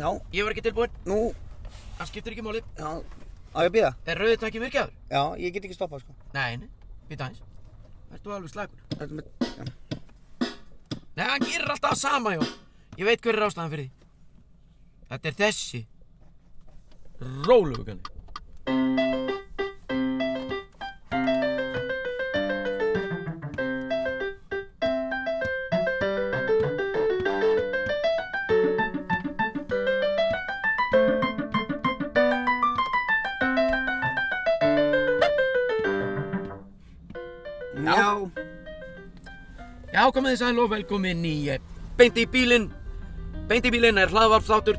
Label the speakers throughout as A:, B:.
A: Já,
B: Ég var ekki tilbúinn,
A: nú,
B: það skiptir ekki máli.
A: já, á ég að býða?
B: Er rauðið takkið virkjaður?
A: Já, ég get ekki stoppað, sko.
B: Nei, nei, býta aðeins. Ertu alveg slagur?
A: Þetta með, já.
B: Nei, hann gerir alltaf það sama, Jón. Ég veit hver er ástæðan fyrir því. Þetta er þessi. Rólöfuganni.
A: Já,
B: Já, komið þið sæl og velkomin í eh, Beint í bílinn. Beint í bílinn er hlaðvarpslátur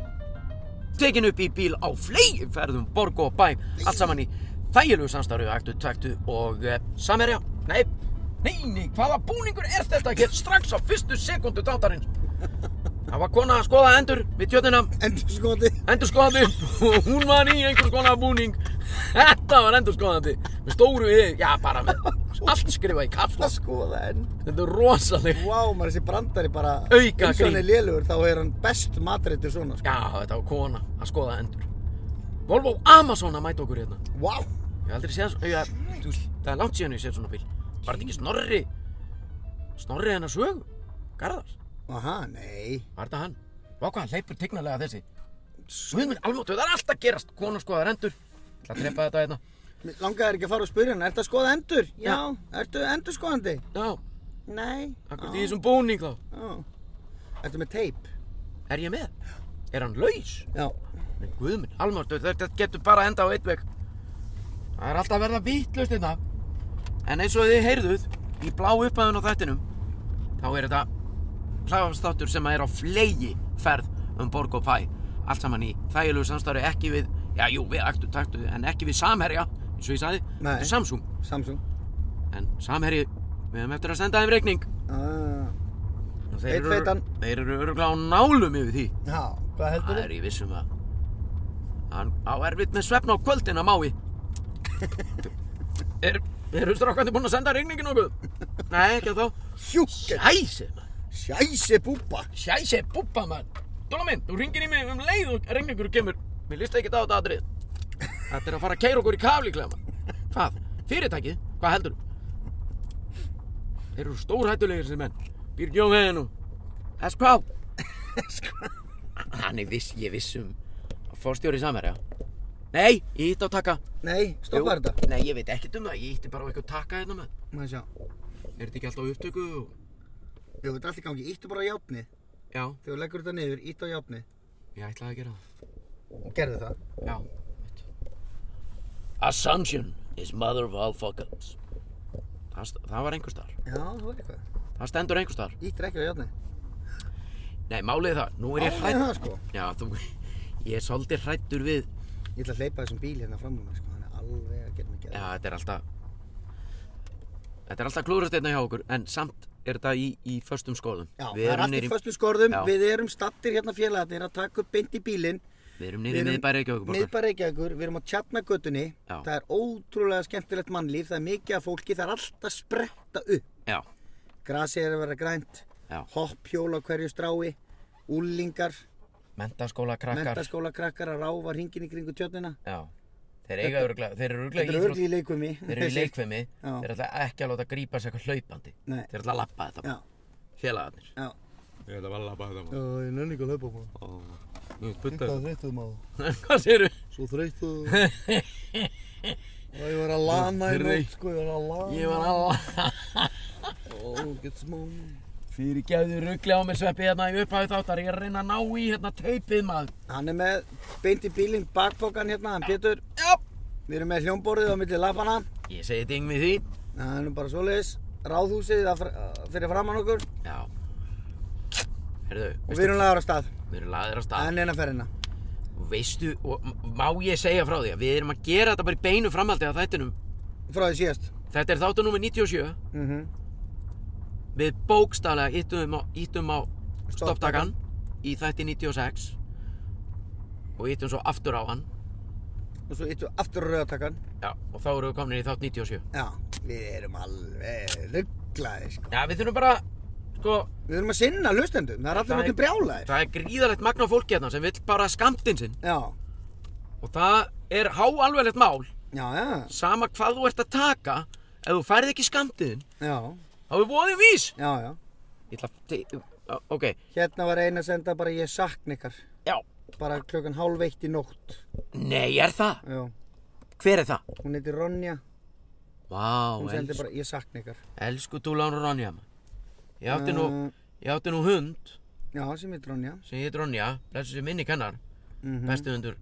B: tekin upp í bíl á fleigum ferðum borg og bæ. Allt saman í þægilegu samstarfi, ættu, tvektu og eh, samverja. Nei, nei, nei, hvaða búningur er þetta hér strax á fyrstu sekundu dátarins? Það var kona að skoða endur við tjötnina
A: endur skoti.
B: endurskoðandi og hún var í einhvers konar búning Þetta var endurskoðandi með stóru yfir, já bara með allt skrifað í
A: Það
B: kapslas
A: skoða enn.
B: Þetta er rosaleg
A: Vá, maður þessi brandari bara...
B: Auka
A: Eins og hann
B: grín.
A: er lélugur, þá er hann best matreitur svona, sko.
B: Já, þetta var kona að skoða endur Volvo Amazon að mæta okkur hérna
A: Vá.
B: Ég hef aldrei séð svo, ég, þú, veist, það er langt síðan ég séð svona bíl Var þetta ekki Snorri Snorri hennar sögu, Garðars
A: Aha, nei.
B: Var þetta hann? Vá hvað hann hleypur tignalega þessi Guðminn almáttu, það er alltaf að gerast Kona skoðar endur Það trepa þetta hérna
A: Mig Langaði ekki að fara og spyrja hann, ertu að skoða endur? Já.
B: Já.
A: Ertu endur skoðandi?
B: Já,
A: Nei.
B: akkur því þessum búning þá
A: Já. Ertu með teip?
B: Er ég með? Er hann laus?
A: Já.
B: Nei, guðminn, almáttur, þetta getur bara enda á eitt veg. Það er alltaf að verða vitlaust hérna. En eins og þið heyrðuð, í blá upphæðun á þættinum, þá er þetta hlæfastáttur sem er á flegi ferð um borg og pæ. Allt saman í þægilegu samstarfi ekki við, já, jú, við aktu taktu, en ekki við samherja, eins og ég sagði,
A: Nei.
B: þetta er Samsung.
A: Samsung.
B: En samherji, við hefum eftir að senda þeim reikning.
A: Uh,
B: Og
A: Einn
B: eru-
A: feitan.
B: Þeir eru öruglega á nálum yfir því.
A: já, hvað heldur
B: Það er ég vissum að hann á erfitt með svefn á kvöldin að mái. er, eru strákandi búin að senda regningin okkur? Nei, ekki að þá.
A: Hjúkk.
B: Jæsi, mann.
A: Sjæsi búba.
B: Jæsi, búpa, mann. Dóla minn, þú ringir í mig um leið og regningur kemur. Mér líst ekki á þetta aðrið. Þetta er að fara að keira okkur í kaflíklega, mann. Hvað? Fyrirtækið? Hvað heldur? Þeir eru stórhættulegir sem menn. Byrgjó veginn og S.P.A.
A: Sko.
B: Hann er viss, ég viss um að fórstjóri samverja. Nei, ég hitt á takka.
A: Nei, stoppa
B: Jú,
A: þetta.
B: Nei, ég veit ekkert um það. Ég hitti bara á eitthvað takka hérna með.
A: Má ég sjá.
B: Er þetta ekki alltaf á upptöku? Og...
A: Jú, þetta er allt í gangi. Íttu bara á játni.
B: Já,
A: Þegar þú leggur þetta niður, íttu á játni.
B: ég ætlaði að gera það.
A: Og gerðu það.
B: Já, mitt. Assumption is mother of all fuck-ups. Það, st- það var einhver staðar.
A: Já, það var eitthvað.
B: Það stendur einhver staðar.
A: Íttu ekki á játni.
B: Nei, málið er það. Nú er ég hrætt.
A: það, sko.
B: Já, þú... Ég er svolítið hrættur við...
A: Ég ætla að hleypa þessum bíl hérna fram úr mér, sko. Hann er alveg að gera mig
B: Já,
A: gerð.
B: þetta er alltaf... Þetta er alltaf klúðrastegna hjá okkur, en samt er þetta í, í föstum skoðum.
A: Já,
B: Við
A: það er
B: erum
A: allt
B: niðri-
A: í föstum skorðum.
B: Já.
A: Við erum stattir hérna félagarnir að taka upp beint í bílinn.
B: Við erum niður í miðbæri Reykjavíkuborgar.
A: Miðbæri Reykjavíkur, við erum á Tjarnagötunni.
B: Já.
A: Það er ótrúlega skemmtilegt mannlíf, það er mikið af fólki, það er allt að spretta upp.
B: Já,
A: Grasið er að vera grænt,
B: já.
A: hopphjól á hverju strái, úlingar,
B: Mentaskóla krakkar.
A: mentaskóla krakkar að ráfa hringin í kringu tjörnina.
B: Já. Þeir eiga öruglega, þeir eru öruglega
A: Þetta eru örgli í leikumi.
B: Þeir eru í leikfemi.
A: Já.
B: Þeir eru alltaf ekki að láta grípa sér eitthvað hlaupandi.
A: Nei.
B: Þeir eru alltaf að lappa þetta.
A: Já,
B: Félagarnir.
A: já.
B: Ég ætla bara að lappa þetta.
A: ég nenni ekki að hlaupa á maður.
B: Nú, butta.
A: þreytið maður.
B: Hvað séru?
A: Svo þreytið. Og ég var að lana
B: í nótt,
A: sko, ég var að lana.
B: Ég var að...
A: Ó, get smá.
B: Fyrir gefðu á mér sveppi hérna í upphæðu þáttar. Ég er að reyna að ná í hérna taupið maður.
A: Hann er með beint í bílinn, bakpokan hérna, hann Pétur.
B: Já.
A: Við erum með hljómborðið á milli lapana.
B: Ég segi ding við því.
A: Það er nú bara svoleiðis. Ráðhúsið það fr- fyrir framann okkur.
B: Já. Herðu,
A: Og við
B: veistu,
A: erum lagar á stað.
B: við erum laðir á stað.
A: Enn eina ferðina.
B: Veistu, og m- má ég segja frá því að við erum að gera þetta bara í beinu framhaldi af þættinum.
A: Frá því síðast.
B: Þetta er þáttu nummer 97.
A: Mm
B: Við bókstaflega íttum á, íttum á stopptakan
A: Stopptakan.
B: í þætti 96 og íttum svo aftur á hann.
A: Og svo yttu aftur á rauðatakkan.
B: Já, og þá erum við komin í þátt 97.
A: Já, við erum alveg rugglaði sko.
B: Já, við þurfum bara, sko,
A: Við erum að sinna hlustendum, það er
B: Það
A: allir
B: er-
A: náttúrulega brjálaðir.
B: það er gríðalegt magna fólki hérna sem vill bara skamtinn sinn
A: Já,
B: og það er háalveglegt mál
A: já, já,
B: sama hvað þú ert að taka ef þú færð ekki skamtiðin
A: já,
B: þá er voðin vís
A: já, já.
B: ég ætla að te- Ó, ok,
A: Hérna var eina að senda bara ég sakna ykkar,
B: já,
A: bara klukkan hálf eitt í nótt.
B: nei er það
A: Já,
B: hver er það?
A: hún heitir Ronja,
B: vá,
A: hún sendi
B: elsku,
A: bara ég sakna ykkar.
B: elsku Dúlan og Ronja maður. ég átti nú
A: Mm.
B: ég átti nú hund
A: Já, sem heitir Ronja.
B: sem heitir Ronja, blessu sem minni kennar
A: Mhm.
B: besti hundur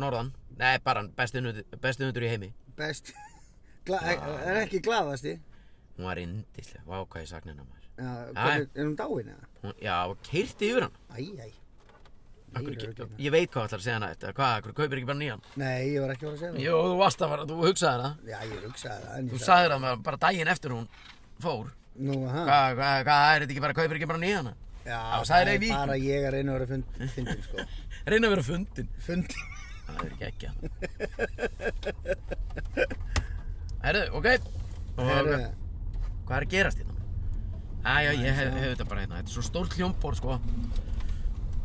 B: norðan, nei bara besti hundur, besti hundur í heimi
A: Best. Gla e- er ekki glaðasti.
B: hún var indislega, vá hvað ég sakna hennar maður
A: Já, hvernig, er hún dáin eða?
B: hún, já, keirti yfir hann
A: Æ, æ.
B: Akkur,
A: Meira
B: ekki,
A: ruglið.
B: ég veit hvað ætlar að segja hana þetta hvað, akkur kaupir ekki bara nýjan
A: Nei, ég var ekki að fara að segja það.
B: Jó, þú varst að fara, þú hugsaði hana
A: Já, ég hugsaði það. en
B: Þú
A: ég sagði-
B: sagðir hana bara daginn eftir hún fór
A: Nú, ha?
B: Hvað, hvað, hvað, er þetta ekki bara, kaupir ekki bara nýjan
A: Já,
B: Já, sagði
A: það
B: það í
A: er
B: Vík.
A: bara ég að reyna að vera fund- fyndin, sko.
B: Reyna að vera fundin
A: Fundin.
B: Það er ekki ekki hana Herðu, ok Og
A: Herru,
B: hvað er að gerast hérna? Æja, ég hef, hef þetta bara hérna Þetta er svo stórt hljómbor, sko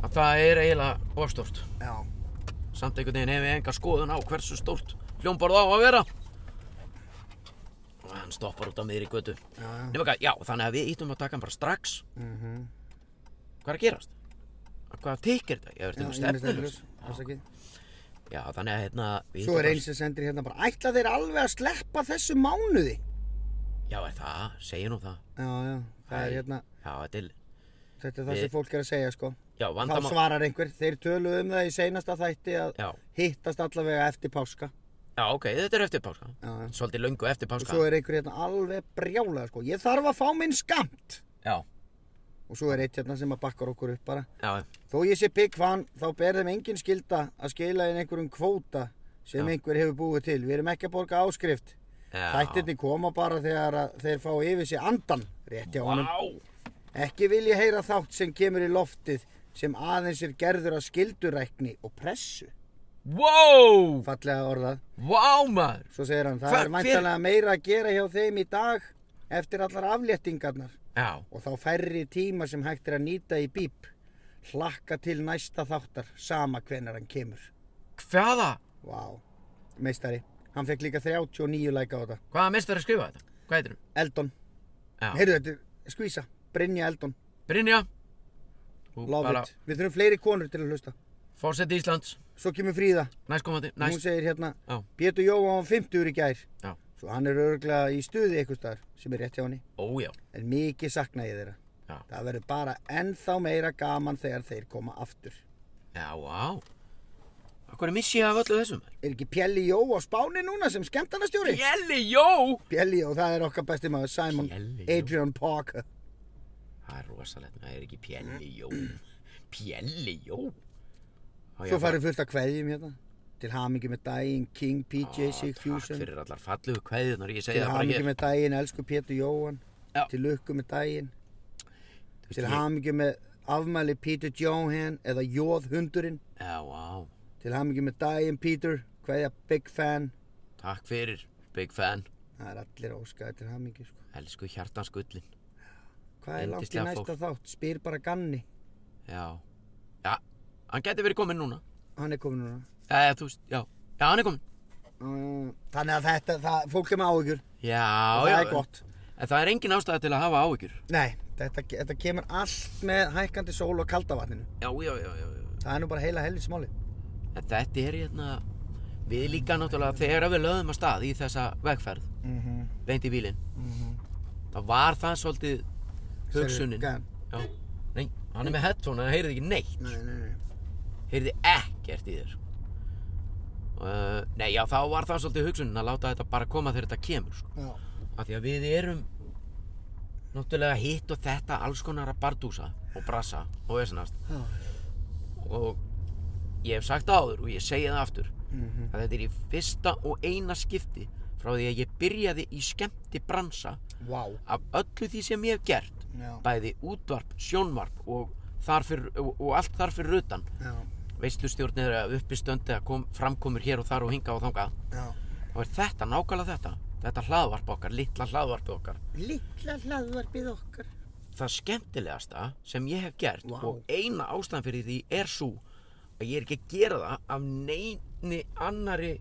B: að það er eiginlega ofstórt
A: já,
B: Samt einhvern veginn hef ég enga skoðun á hversu stórt hljómborð á að vera. Og hann stoppar út á miðri götu.
A: já, já.
B: Nefnum hvað, já, þannig að við íttum að taka hann bara strax.
A: Mm
B: Hvað er að gerast? Hvað teikir þetta? Ég verður
A: Já,
B: með
A: ég misti
B: stefnuljós.
A: ljós, afsakið.
B: Já, þannig að hérna... við hittum
A: Svo er
B: bara-
A: einn sem sendir hérna bara Ætla þeir alveg að sleppa þessu mánuði?
B: Já, er það, segir nú það.
A: Já, já, það er
B: Æ.
A: hérna
B: Já, þetta er...
A: Þetta er það
B: Við-
A: sem fólk er að segja sko
B: Já,
A: Þá
B: vandamál...
A: svarar einhver, þeir töluðu um það í seinasta þætti að
B: Já,
A: hittast allavega eftir páska
B: já, ok, þetta er eftir páska.
A: Já, já.
B: Svolítið löngu eftir
A: Og
B: páska.
A: svo er einhver hérna alveg brjálega sko Ég þarf að fá minn skamt
B: Já,
A: Og svo er eitt hérna sem að bakkar okkur upp bara
B: já,
A: Þó ég sé big fan, þá ber þeim engin skilda að skila inn einhverjum kvóta sem
B: Já.
A: einhver hefur búið til. Við erum ekki að borga áskrift.
B: já.
A: Þættirni koma bara þegar að þeir fá yfir sig andan rétt hjá honum.
B: Vá!
A: Ekki vil ég heyra þátt sem kemur í loftið sem aðeins er gerður að skildurækni og pressu.
B: Wow!
A: Fallega orðað.
B: Vá, maður!
A: Svo segir hann, það
B: Hva-
A: er væntanlega meira að gera hjá þeim í dag eftir allar afléttingarnar
B: Já,
A: og þá færri tíma sem hægt er að nýta í bíp. Hlakka til næsta þáttar, sama hvenar hann kemur.
B: hvaða,
A: Vá, meistari. Hann fekk líka 39 læka á þetta.
B: hvaða mestar að skrifa þetta? Hvað heitir hún?
A: Eldon.
B: Já.
A: Heyrðu þetta, er skvísa. Brynja Eldon.
B: Brynja Þú
A: Love it. Við þurfum fleiri konur til að hlusta.
B: Fórseti Íslands
A: Svo kemur Fríða.
B: Næstkomandi
A: Hún
B: Næst
A: segir hérna,
B: Já.
A: Pétur Jóa var 50 úr í gær.
B: Já.
A: Svo hann er örgla í stuði eitthvað staðar sem er rétt hjá henni.
B: Ó já
A: En mikið sakna ég þeirra.
B: Já.
A: Það verður bara ennþá meira gaman þegar þeir koma aftur.
B: Já, vá Hvað er missi ég af öllu þessum?
A: Er ekki Pjelli Jó á Spáni núna sem skemmtarnastjóri?
B: Jelli, jó
A: Pjelli Jó, það er okkar besti maður, Simon
B: Pjelli Jó.
A: Adrian Parker.
B: Það er rosalegt Það er ekki pjelli, jó Pjelli, jó Á,
A: Svo
B: já,
A: farið fullt að kveðjum hérna til hamingi með daginn King PJ
B: Á, Takk
A: Sigfusen
B: fyrir allar fallugu kveðunar Ég segi
A: til
B: það bara
A: hamingi
B: hér
A: með daginn elsku Pétur Jóhann
B: Já.
A: til lukku með daginn
B: Þú veist,
A: til
B: ég-
A: hamingi með afmæli Peter Johan eða Jóð hundurinn
B: Já, vá
A: til hamingi með daginn Peter kveðja big fan
B: Takk fyrir Big fan
A: það er allir óskaði til hamingi sko.
B: Elsku hjartanskullin
A: hvað er langt í
B: Yndislega
A: næsta þátt spyr bara Ganni
B: Já Já Hann geti verið kominn núna
A: hann er komin núna
B: Já, þú veist Já Já, hann er kominn
A: Mm, þannig að þetta það, fólk er með áhyggjur
B: Já,
A: það
B: já
A: er gott
B: En það er engin ástæða til að hafa áhyggjur.
A: nei þetta, þetta kemur allt með hækkandi sól og kaldavatninu
B: Já, já, já, já. já.
A: það er nú bara heila helvismáli
B: En þetta er hérna, við líka náttúrulega, þegar við löðum að stað í þessa vegferð,
A: mm -hmm.
B: beint í bílinn,
A: Mhm.
B: þá var það svolítið hugsunin.
A: Gæðan.
B: Já, nei, hann er með headphone, hann heyrði ekki neitt,
A: Nei, nei, nei.
B: heyrði ekkert í þér. Uh, nei, já, þá var það svolítið hugsunin að láta þetta bara koma þegar þetta kemur, sko.
A: Já.
B: Af því að við erum náttúrulega hitt og þetta alls konar að bardúsa og brassa og vesenast.
A: Já.
B: og ég hef sagt það áður og ég segi það aftur
A: Mhm.
B: að þetta er í fyrsta og eina skipti frá því að ég byrjaði í skemmti bransa
A: Vá.
B: af öllu því sem ég hef gert
A: Já.
B: bæði útvarp, sjónvarp og, þar fyrir, og, og allt þar fyrir utan
A: Já.
B: veistlustjórn eða uppistönd eða kom, framkomur hér og þar og hinga og þangað
A: Já.
B: þá er þetta nákvæmlega þetta þetta hlaðvarp okkar, litla hlaðvarp okkar
A: Lilla hlaðvarpið okkar.
B: það skemmtilegasta sem ég hef gert
A: Vá.
B: og eina ástæðan fyrir því er svo að ég er ekki að gera það af neini annari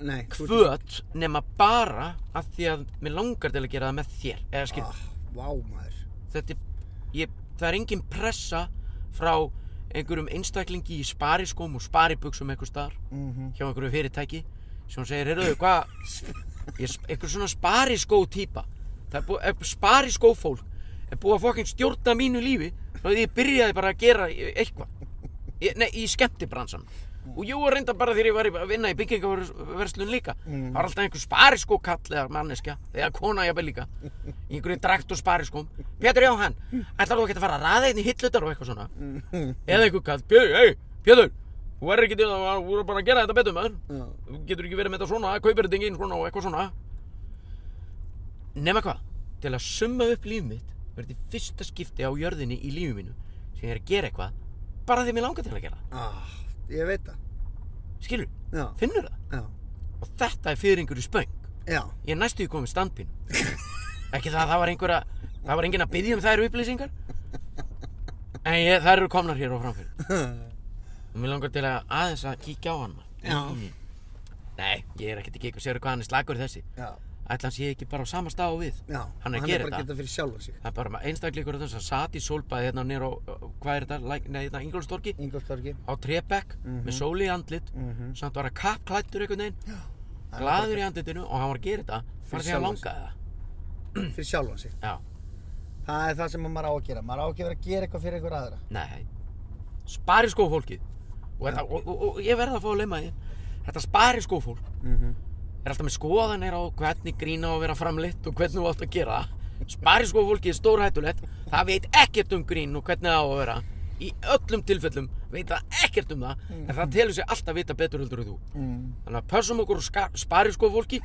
A: Nei, þú ert-
B: kvöt nema bara að því að mér langar til að gera það með þér eða skil,
A: Ah, vá maður.
B: þetta er, ég, það er engin pressa frá einhverjum einstaklingi í spariskóm og sparibuxum einhvers staðar
A: Mm
B: hjá einhverju fyrirtæki sem segir, heyrðu, hvað ég er sp- einhver svona spariskó típa það er búið, spariskó fólk er búið að fokkin stjórna mínu lífi þá því ég byrjaði bara að gera eitthvað ég, nei, í skemmtibransan og jú, reynda bara þegar ég var í- að vinna í byggingaverslun líka það var alltaf einhver spariskó kall eða manneskja, eða kona jafnvel líka í einhverju drakt og spariskóm Pétur Jóhann, ætlar þú ekki að fara að raða einn í hillutar og eitthvað svona eða einhver kall, Pétur, hei, Pétur þú verður ekki til að, þú verður bara að gera þetta betur maður
A: Já.
B: þú getur ekki verið með þetta svona, kaupir þetta enginn svona og eitthvað svona nema hvað, til að summa upp líf mitt verður þetta í fyrsta skipti á jörðinni í lífi mínu sem ég er að gera eitthvað bara því mér langar til að gera það,
A: Ah, ég veit það.
B: skilur,
A: Já,
B: finnur það
A: já,
B: og þetta er fyrir einhverju spöng
A: já.
B: ég er næstu í komið standpín ekki það að það var einhver að það var enginn að byggja um þær upplýsingar en ég, þær eru komnar hér á framfyrir og mér langar til að aðeins að kíkja á hann
A: Já.
B: nei, ég er ekkert ekki eitthvað, séru hvað hann er slagur þessi
A: Já,
B: ætla hans ég ekki bara á sama stað og við
A: já.
B: hann er að
A: Hann er
B: gera
A: bara
B: þetta
A: að geta fyrir sjálfan sig.
B: það er bara einstakleikur þess að sat í sólbæði hérna nýr á, hvað er þetta, Læk- nei þetta Ingolstorki
A: Ingolstorgi.
B: á trébekk með sóli í andlit
A: Mhm.
B: samt var að kappklættur einhvern veginn
A: Hann er bara
B: glaður í andlitinu og hann var að gera þetta bara því
A: Fyrir
B: að
A: sjálfan sig.
B: langaði það
A: Fyrir sjálfan sig.
B: já,
A: Það er það sem maður á að gera. Maður á ekki að vera að gera eitthvað fyrir einhver aðra.
B: nei spari skófólkið og, þetta, og, og, og ég verði að fá að leima því þetta spari skófólk
A: Mm -hmm.
B: er alltaf með skoðanir á hvernig grína á að vera framlitt og hvernig þú átt að gera það sparisko fólki er stórhættulegt það veit ekkert um grín og hvernig það á að vera í öllum tilfellum veit það ekkert um það en það telur sér alltaf vita betur heldur en þú
A: Mm.
B: þannig að pössum okkur og sparisko fólki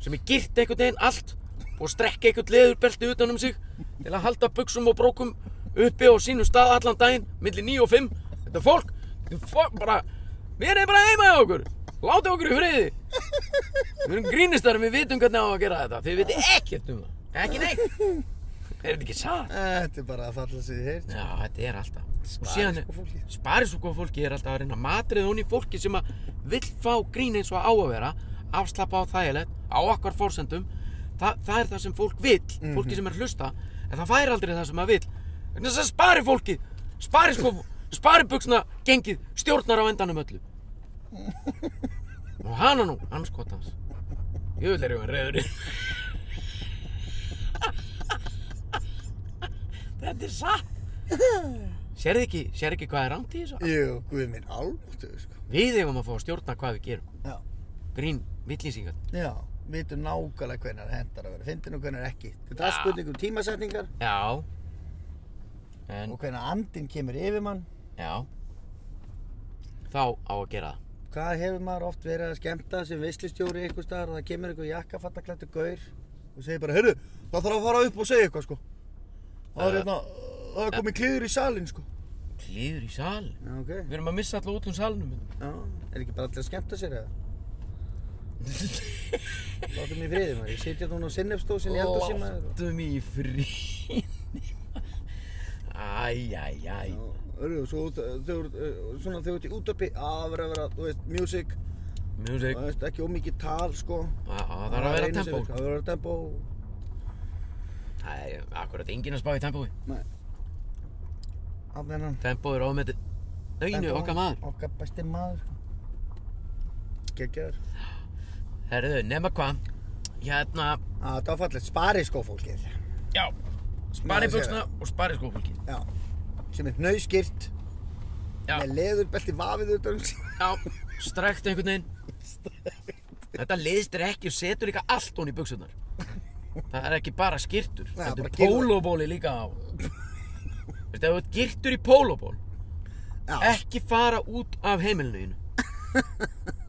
B: sem er girt einhvern veginn allt og strekka einhvern leðurbelti utan um sig til að halda buksum og brókum uppi á sínum stað allan daginn milli 9 og 5 þetta fólk, þetta fólk bara við erum bara heima hjá okkur láta okkur í friði Við erum grínistar en við vitum hvernig á að gera þetta. Þið viti ekkert um það. Ekki neitt. Er þetta ekki satt?
A: Þetta er bara að falla sig í heyrt.
B: Já, þetta er alltaf. Og síðan
A: Spariskó fólkið.
B: Sparisúko fólki er alltaf að reyna að matrið hún í fólki sem að vill fá grín eins og á að vera, afslappa á þægilegt, á okkar fórsendum. Þa, það er það sem fólk vill, fólki sem er að hlusta, en það fær aldrei það sem það vill. Þannig að spari fólki, spari sko, spari buksna gengið, stjórnar á endanum öllu. Og hana nú, hans gott hans. Ég vil er ég að reyðurinn. Þetta er satt. Sérðu ekki, sérðu ekki hvað er rámt í þessu?
A: Jú, guð minn, alvöftu, sko.
B: Við eigum að fá að stjórna hvað við gerum.
A: Já.
B: Grín, villýsingar.
A: Já, vitum nákvæmlega hvernig hendar að vera fyndin og hvernig ekki. Þetta er allt
B: Já.
A: spurning um tímasetningar
B: Já. En,
A: og hvernig andinn kemur yfir mann.
B: já. Þá á að gera það.
A: Hvað hefur maður oft verið að skemmta sem veslustjóri eitthvað staðar og það kemur eitthvað jakkafattaklættu gaur og segir bara, heyrðu, það þarf að fara upp og segja eitthvað sko. Það er
B: Eh.
A: hérna, það er komið klíður í salin sko.
B: Kliður í sal.
A: Já, ok.
B: Við erum að missa alltaf út um salnum.
A: Já, er ekki bara allir að skemmta sér eða? Látum í friði maður, ég sitja núna á sinnefstósin í eldarsinn maður.
B: Láttu mig í frí. Æj, æj, æj.
A: Já, Heyrðu, svo út- þegar eh, svona þegar þú ert í útöpi, að vera að vera, þú veist, music,
B: Music.
A: þú veist, ekki ómikið tal sko.
B: Á, á, Það þarf að vera
A: eina sem
B: tempó.
A: virkar, sko, Það þarf að vera tempó.
B: Það er akkurat enginn að spá í tempói.
A: Nei. Af þennan.
B: Tempó er ofmetið. Einu
A: Tempó,
B: okkar maður.
A: Okkar besti maður sko. Gekkjaður
B: Herðu, nema hvað. Hérna,
A: Það Ah, var fallegt spari sko fólkið
B: Já, sparibuxna og spariskófólki
A: Já Sem er hnauskýrt
B: Já,
A: Með leðurbelti vafið út um sig
B: já, strekt einhvern veginn Þetta liðstir ekki og setur líka allt hún í buxurnar Það er ekki bara skýrtur
A: Nei,
B: Þetta
A: bara
B: er
A: gyrða.
B: pólóbóli líka á Veistu, ef þú ert gyrtur í pólóból
A: Já
B: Ekki fara út af heimilinu þínu.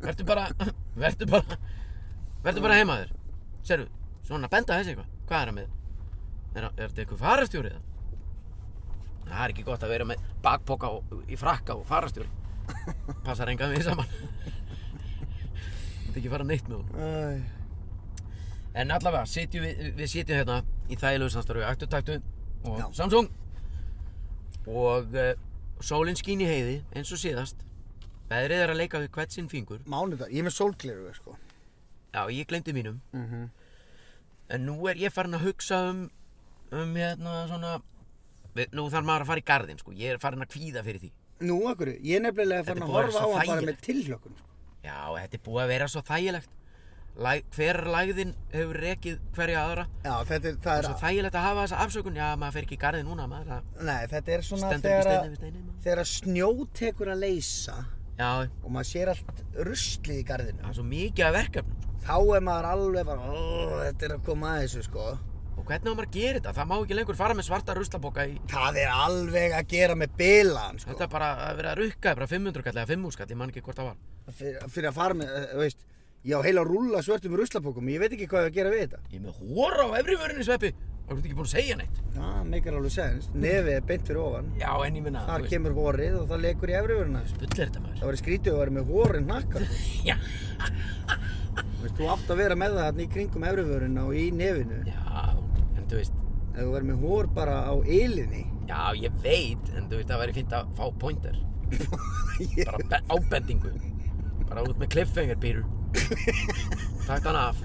B: Vertu bara, vertu bara, vertu bara heima þér Serðu, svona benda þessi eitthvað Hvað er það með? Er, er þetta eitthvað farastjórið það? Það er ekki gott að vera með bakpoka og, í frakka og farastjóri. Passar engan við saman. Þetta ekki fara neitt með hún.
A: Æ,
B: En allavega, sitjum við, við sitjum hérna í þægilegu samstarfi, ættu taktu, og
A: Já.
B: Samsung og uh, sólinn skín í heiði eins og síðast veðrið er að leika við hvert sinn fingur
A: Mánudag, ég er með sólgleru, sko.
B: já ég glemdi mínum en nú er ég farin að hugsa um um hérna svona við, nú þarf maður að fara í garðin sko ég er farin að kvíða fyrir því
A: Nú, akkur, ég er nefnilega
B: Þetta
A: farin að
B: búið að vera
A: horfa á
B: svo
A: hann bara
B: þægilegt.
A: með tilhlökun, sko.
B: já þetta er búið að vera svo þægilegt Læ, hver lægðin hefur rekið hverja aðra
A: Já, þetta er, það
B: svo
A: er,
B: þægilegt að hafa þessa afsökun já maður fer ekki í garðin núna maður það
A: nei, þetta er svona
B: stendur ekki steinu
A: þegar að,
B: við steinu maður.
A: þegar að snjó tekur að leysa
B: já
A: og maður sér allt ruslið í garðinu.
B: það er svo mikið að verkefnum sko.
A: Þá er maður alveg bara, "Ugh, þetta er að koma að þessu, sko.
B: og hvernig á maður að gera þetta það má ekki lengur fara með svarta ruslaboka í
A: Það er alveg að gera með bilaðan, sko.
B: Þetta er bara að vera að rukka, bara 500 kall eða 500 kall, ég man ekki hvort það var.
A: Fyrir, fyrir að fara með, eh, þú veist, ég á heila rúlla svörtum ruslapokum, ég veit ekki hvað ég á að gera við þetta.
B: Ég er með hóra á efri vörinu sveppi, þá ertu ekki búin að segja neitt.
A: Já, meikar alveg sens. Nefið er beint fyrir ofan.
B: Já, en ég minna,
A: Þar kemur horið og það lekur í efriðurna.
B: Bullir þetta maður.
A: Það var í skrítið að vera með horinn nakkar.
B: Já,
A: Þú veist, þú átt að vera með það hérna í kringum efriðurna og í nefinu.
B: já, en þú veist,
A: Ef þú verður með hor bara á ylinni.
B: já, ég veit, en þú veist, það væri fínt að fá pointer.
A: Ég-
B: Bara be- ábendingu. Bara út með cliffhanger, Pírur. Takk hann af.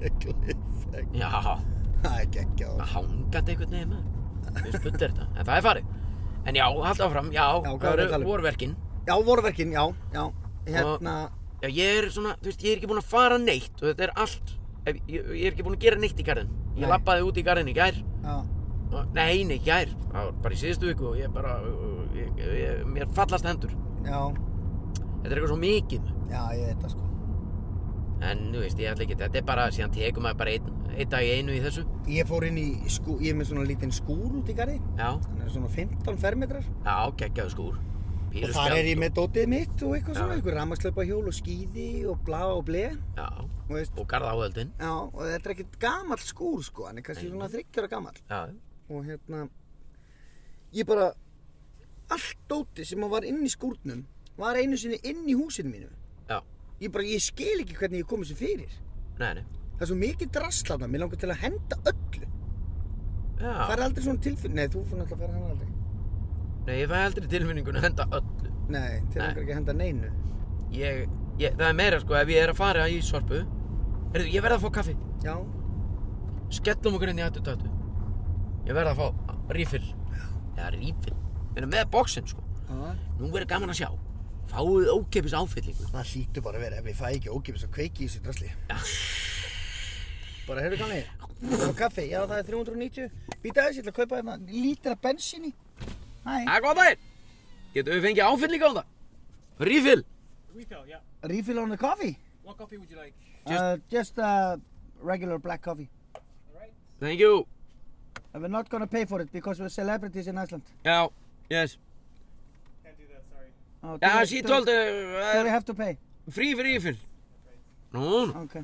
A: ég gleymi
B: Já, það
A: Það er geggjað.
B: hangaði einhvern veginn maður. Þú veist, bullir þetta, en það er farið. En já, haldt áfram, já,
A: hvað
B: það
A: var að tala
B: eru
A: um?
B: vorverkin.
A: Já, vorverkin, já, já. Hérna,
B: Já, ég er svona, þú veist, ég er ekki búinn að fara neitt og þetta er allt, ef, ég, ég er ekki búinn að gera neitt í garðin. Ég
A: Nei.
B: labbaði út í garðin í gær,
A: já,
B: og, nei, nei, í gær, það var bara í síðustu viku og ég bara, ég, ég, mér fallast hendur.
A: já,
B: Þetta er eitthvað svo mikið,
A: já, ég veit það sko.
B: en þú veist, ég ætla ekki, þetta er bara, síðan tekum maður bara einn, einn dag í einu í þessu.
A: Ég fór inn í, skú, ég er með svona lítinn skúr út í garði.
B: Já,
A: Hann er svona 15 fermetrar.
B: já, geggjaðu skúr.
A: Og
B: Píru
A: þar
B: spjald
A: er ég með dótið mitt og eitthvað
B: Já.
A: svona, einhver rammarslaupa og skíði og bla og ble.
B: Já,
A: Þú veist,
B: og garða áhöldin.
A: Já, og þetta er ekkert gamall skúr sko, hann er kannski svona þryggjara gamall
B: Já,
A: og hérna, ég bara, allt dóti sem var inn í skúrnum var einu sinni inn í húsinu mínu.
B: já,
A: Ég bara, ég skil ekki hvernig ég kom þessu fyrir.
B: nei, nei,
A: Það er svo mikið drastlana, mér langar til að henda öllu. Það
B: já,
A: er aldrei svona tilfinn, nei þú fyrir náttúrulega að fara hann aldrei.
B: nei, ég fæ aldrei tilfinningun að henda öllu.
A: Nei, til
B: Nei.
A: langar ekki að henda neinu.
B: ég, ég, það er meira sko ef ég er að fara í sorpu Heyrðu, ég verð að fá kaffi
A: Já,
B: skellum okkur inn í hattu tattu ég verð að fá rífill eða rífill Meina, með bóksinn sko
A: Já.
B: nú verður gaman að sjá fáið ókeppis áfyllingu
A: það hlýtur bara að vera ef ég fæ ekki ógifis að kveiki í þessu drasli.
B: Já.
A: Bara, heyrðu kanni, það var kaffi, já það er 390, býta aðeins, ég ætla að kaupa hérna lítra bensinni. Hæ.
B: það er góð daginn getum við fengið áfyllingu á það rífill
C: Refill, yeah.
A: Refill on the coffee?
C: What coffee would you like?
B: Just-
A: uh, just uh, regular black coffee.
C: Alright.
B: thank you
A: And we're not gonna pay for it because we're celebrities in Iceland.
B: já yes
C: Can't do that, sorry.
A: Oh, do
B: já
A: we-
B: Ah, she
A: do-
B: told
A: Do we
B: uh,
A: have to pay?
B: frí fyrir rífill nú no,
A: Okay.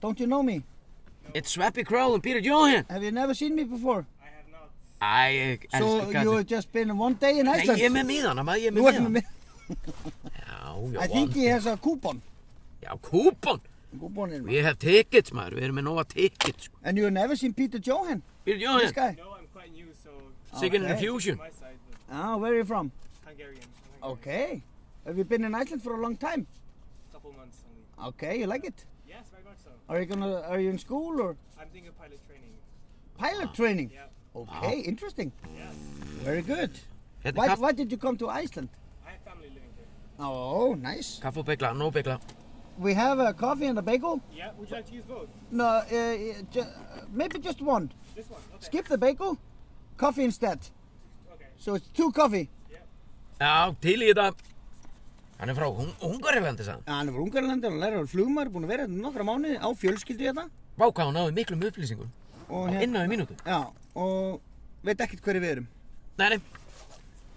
A: Don't you know me?
B: it's Sveppi Crowell and Peter Johan
A: Have you never seen me before?
C: I have not.
B: æ ég
A: so
B: elska
A: you
B: kallið
A: have just been one day in
B: Nei,
A: Iceland?
B: ég er með miðan, maður ég er
A: Nú
B: með
A: ertu með
B: miðan.
A: mig.
B: Já, já,
A: I think
B: one.
A: he has a coupon.
B: Já, kúpon.
A: Coupon in
B: Við hef tickets, maður. Við erum með nóga tickets. sko.
A: And you have never seen Peter Johan?
B: Byrjum
A: This
B: Jóhann,
A: guy?
C: No, I'm quite new, so
B: Second
A: Okay.
B: Infusion.
C: my side, but
A: Ah, where are you from?
C: Hungarian. I'm Hungarian.
A: Okay. Have you been in Iceland for a long time?
C: Couple months only.
A: Okay, you like it?
C: Yes, very much so.
A: Are you gonna? Are you in school or
C: I'm doing a pilot training.
B: Ah.
A: pilot training?
C: Yeah.
A: Okay, interesting.
C: Yes.
A: Very good.
B: Hérna
A: Why,
B: kaff,
A: why did you come to Iceland?
C: I have family living here.
A: Oh, nice.
B: kaff og begla, nóg begla.
A: We have a coffee and a bagel.
C: Yeah, would you like to use both?
A: No, uh, uh, ju- uh, maybe just one.
C: This one? Okay.
A: Skip the bagel, coffee instead.
C: Okay.
A: So it's two coffee.
B: Já, til í þetta. Hann er frá hung Ungarilandi, sagðan.
A: Ah, Hann er ungarlandi, hann er flugmaður, búin að vera hérna nokkra mánuði á fjölskyldu hérna.
B: Vá, hvað hann náði miklum upplýsingum.
A: Og hérna-
B: Inn á í mínútu.
A: Já, og veit ekkert hverju við erum.
B: Nei, nei,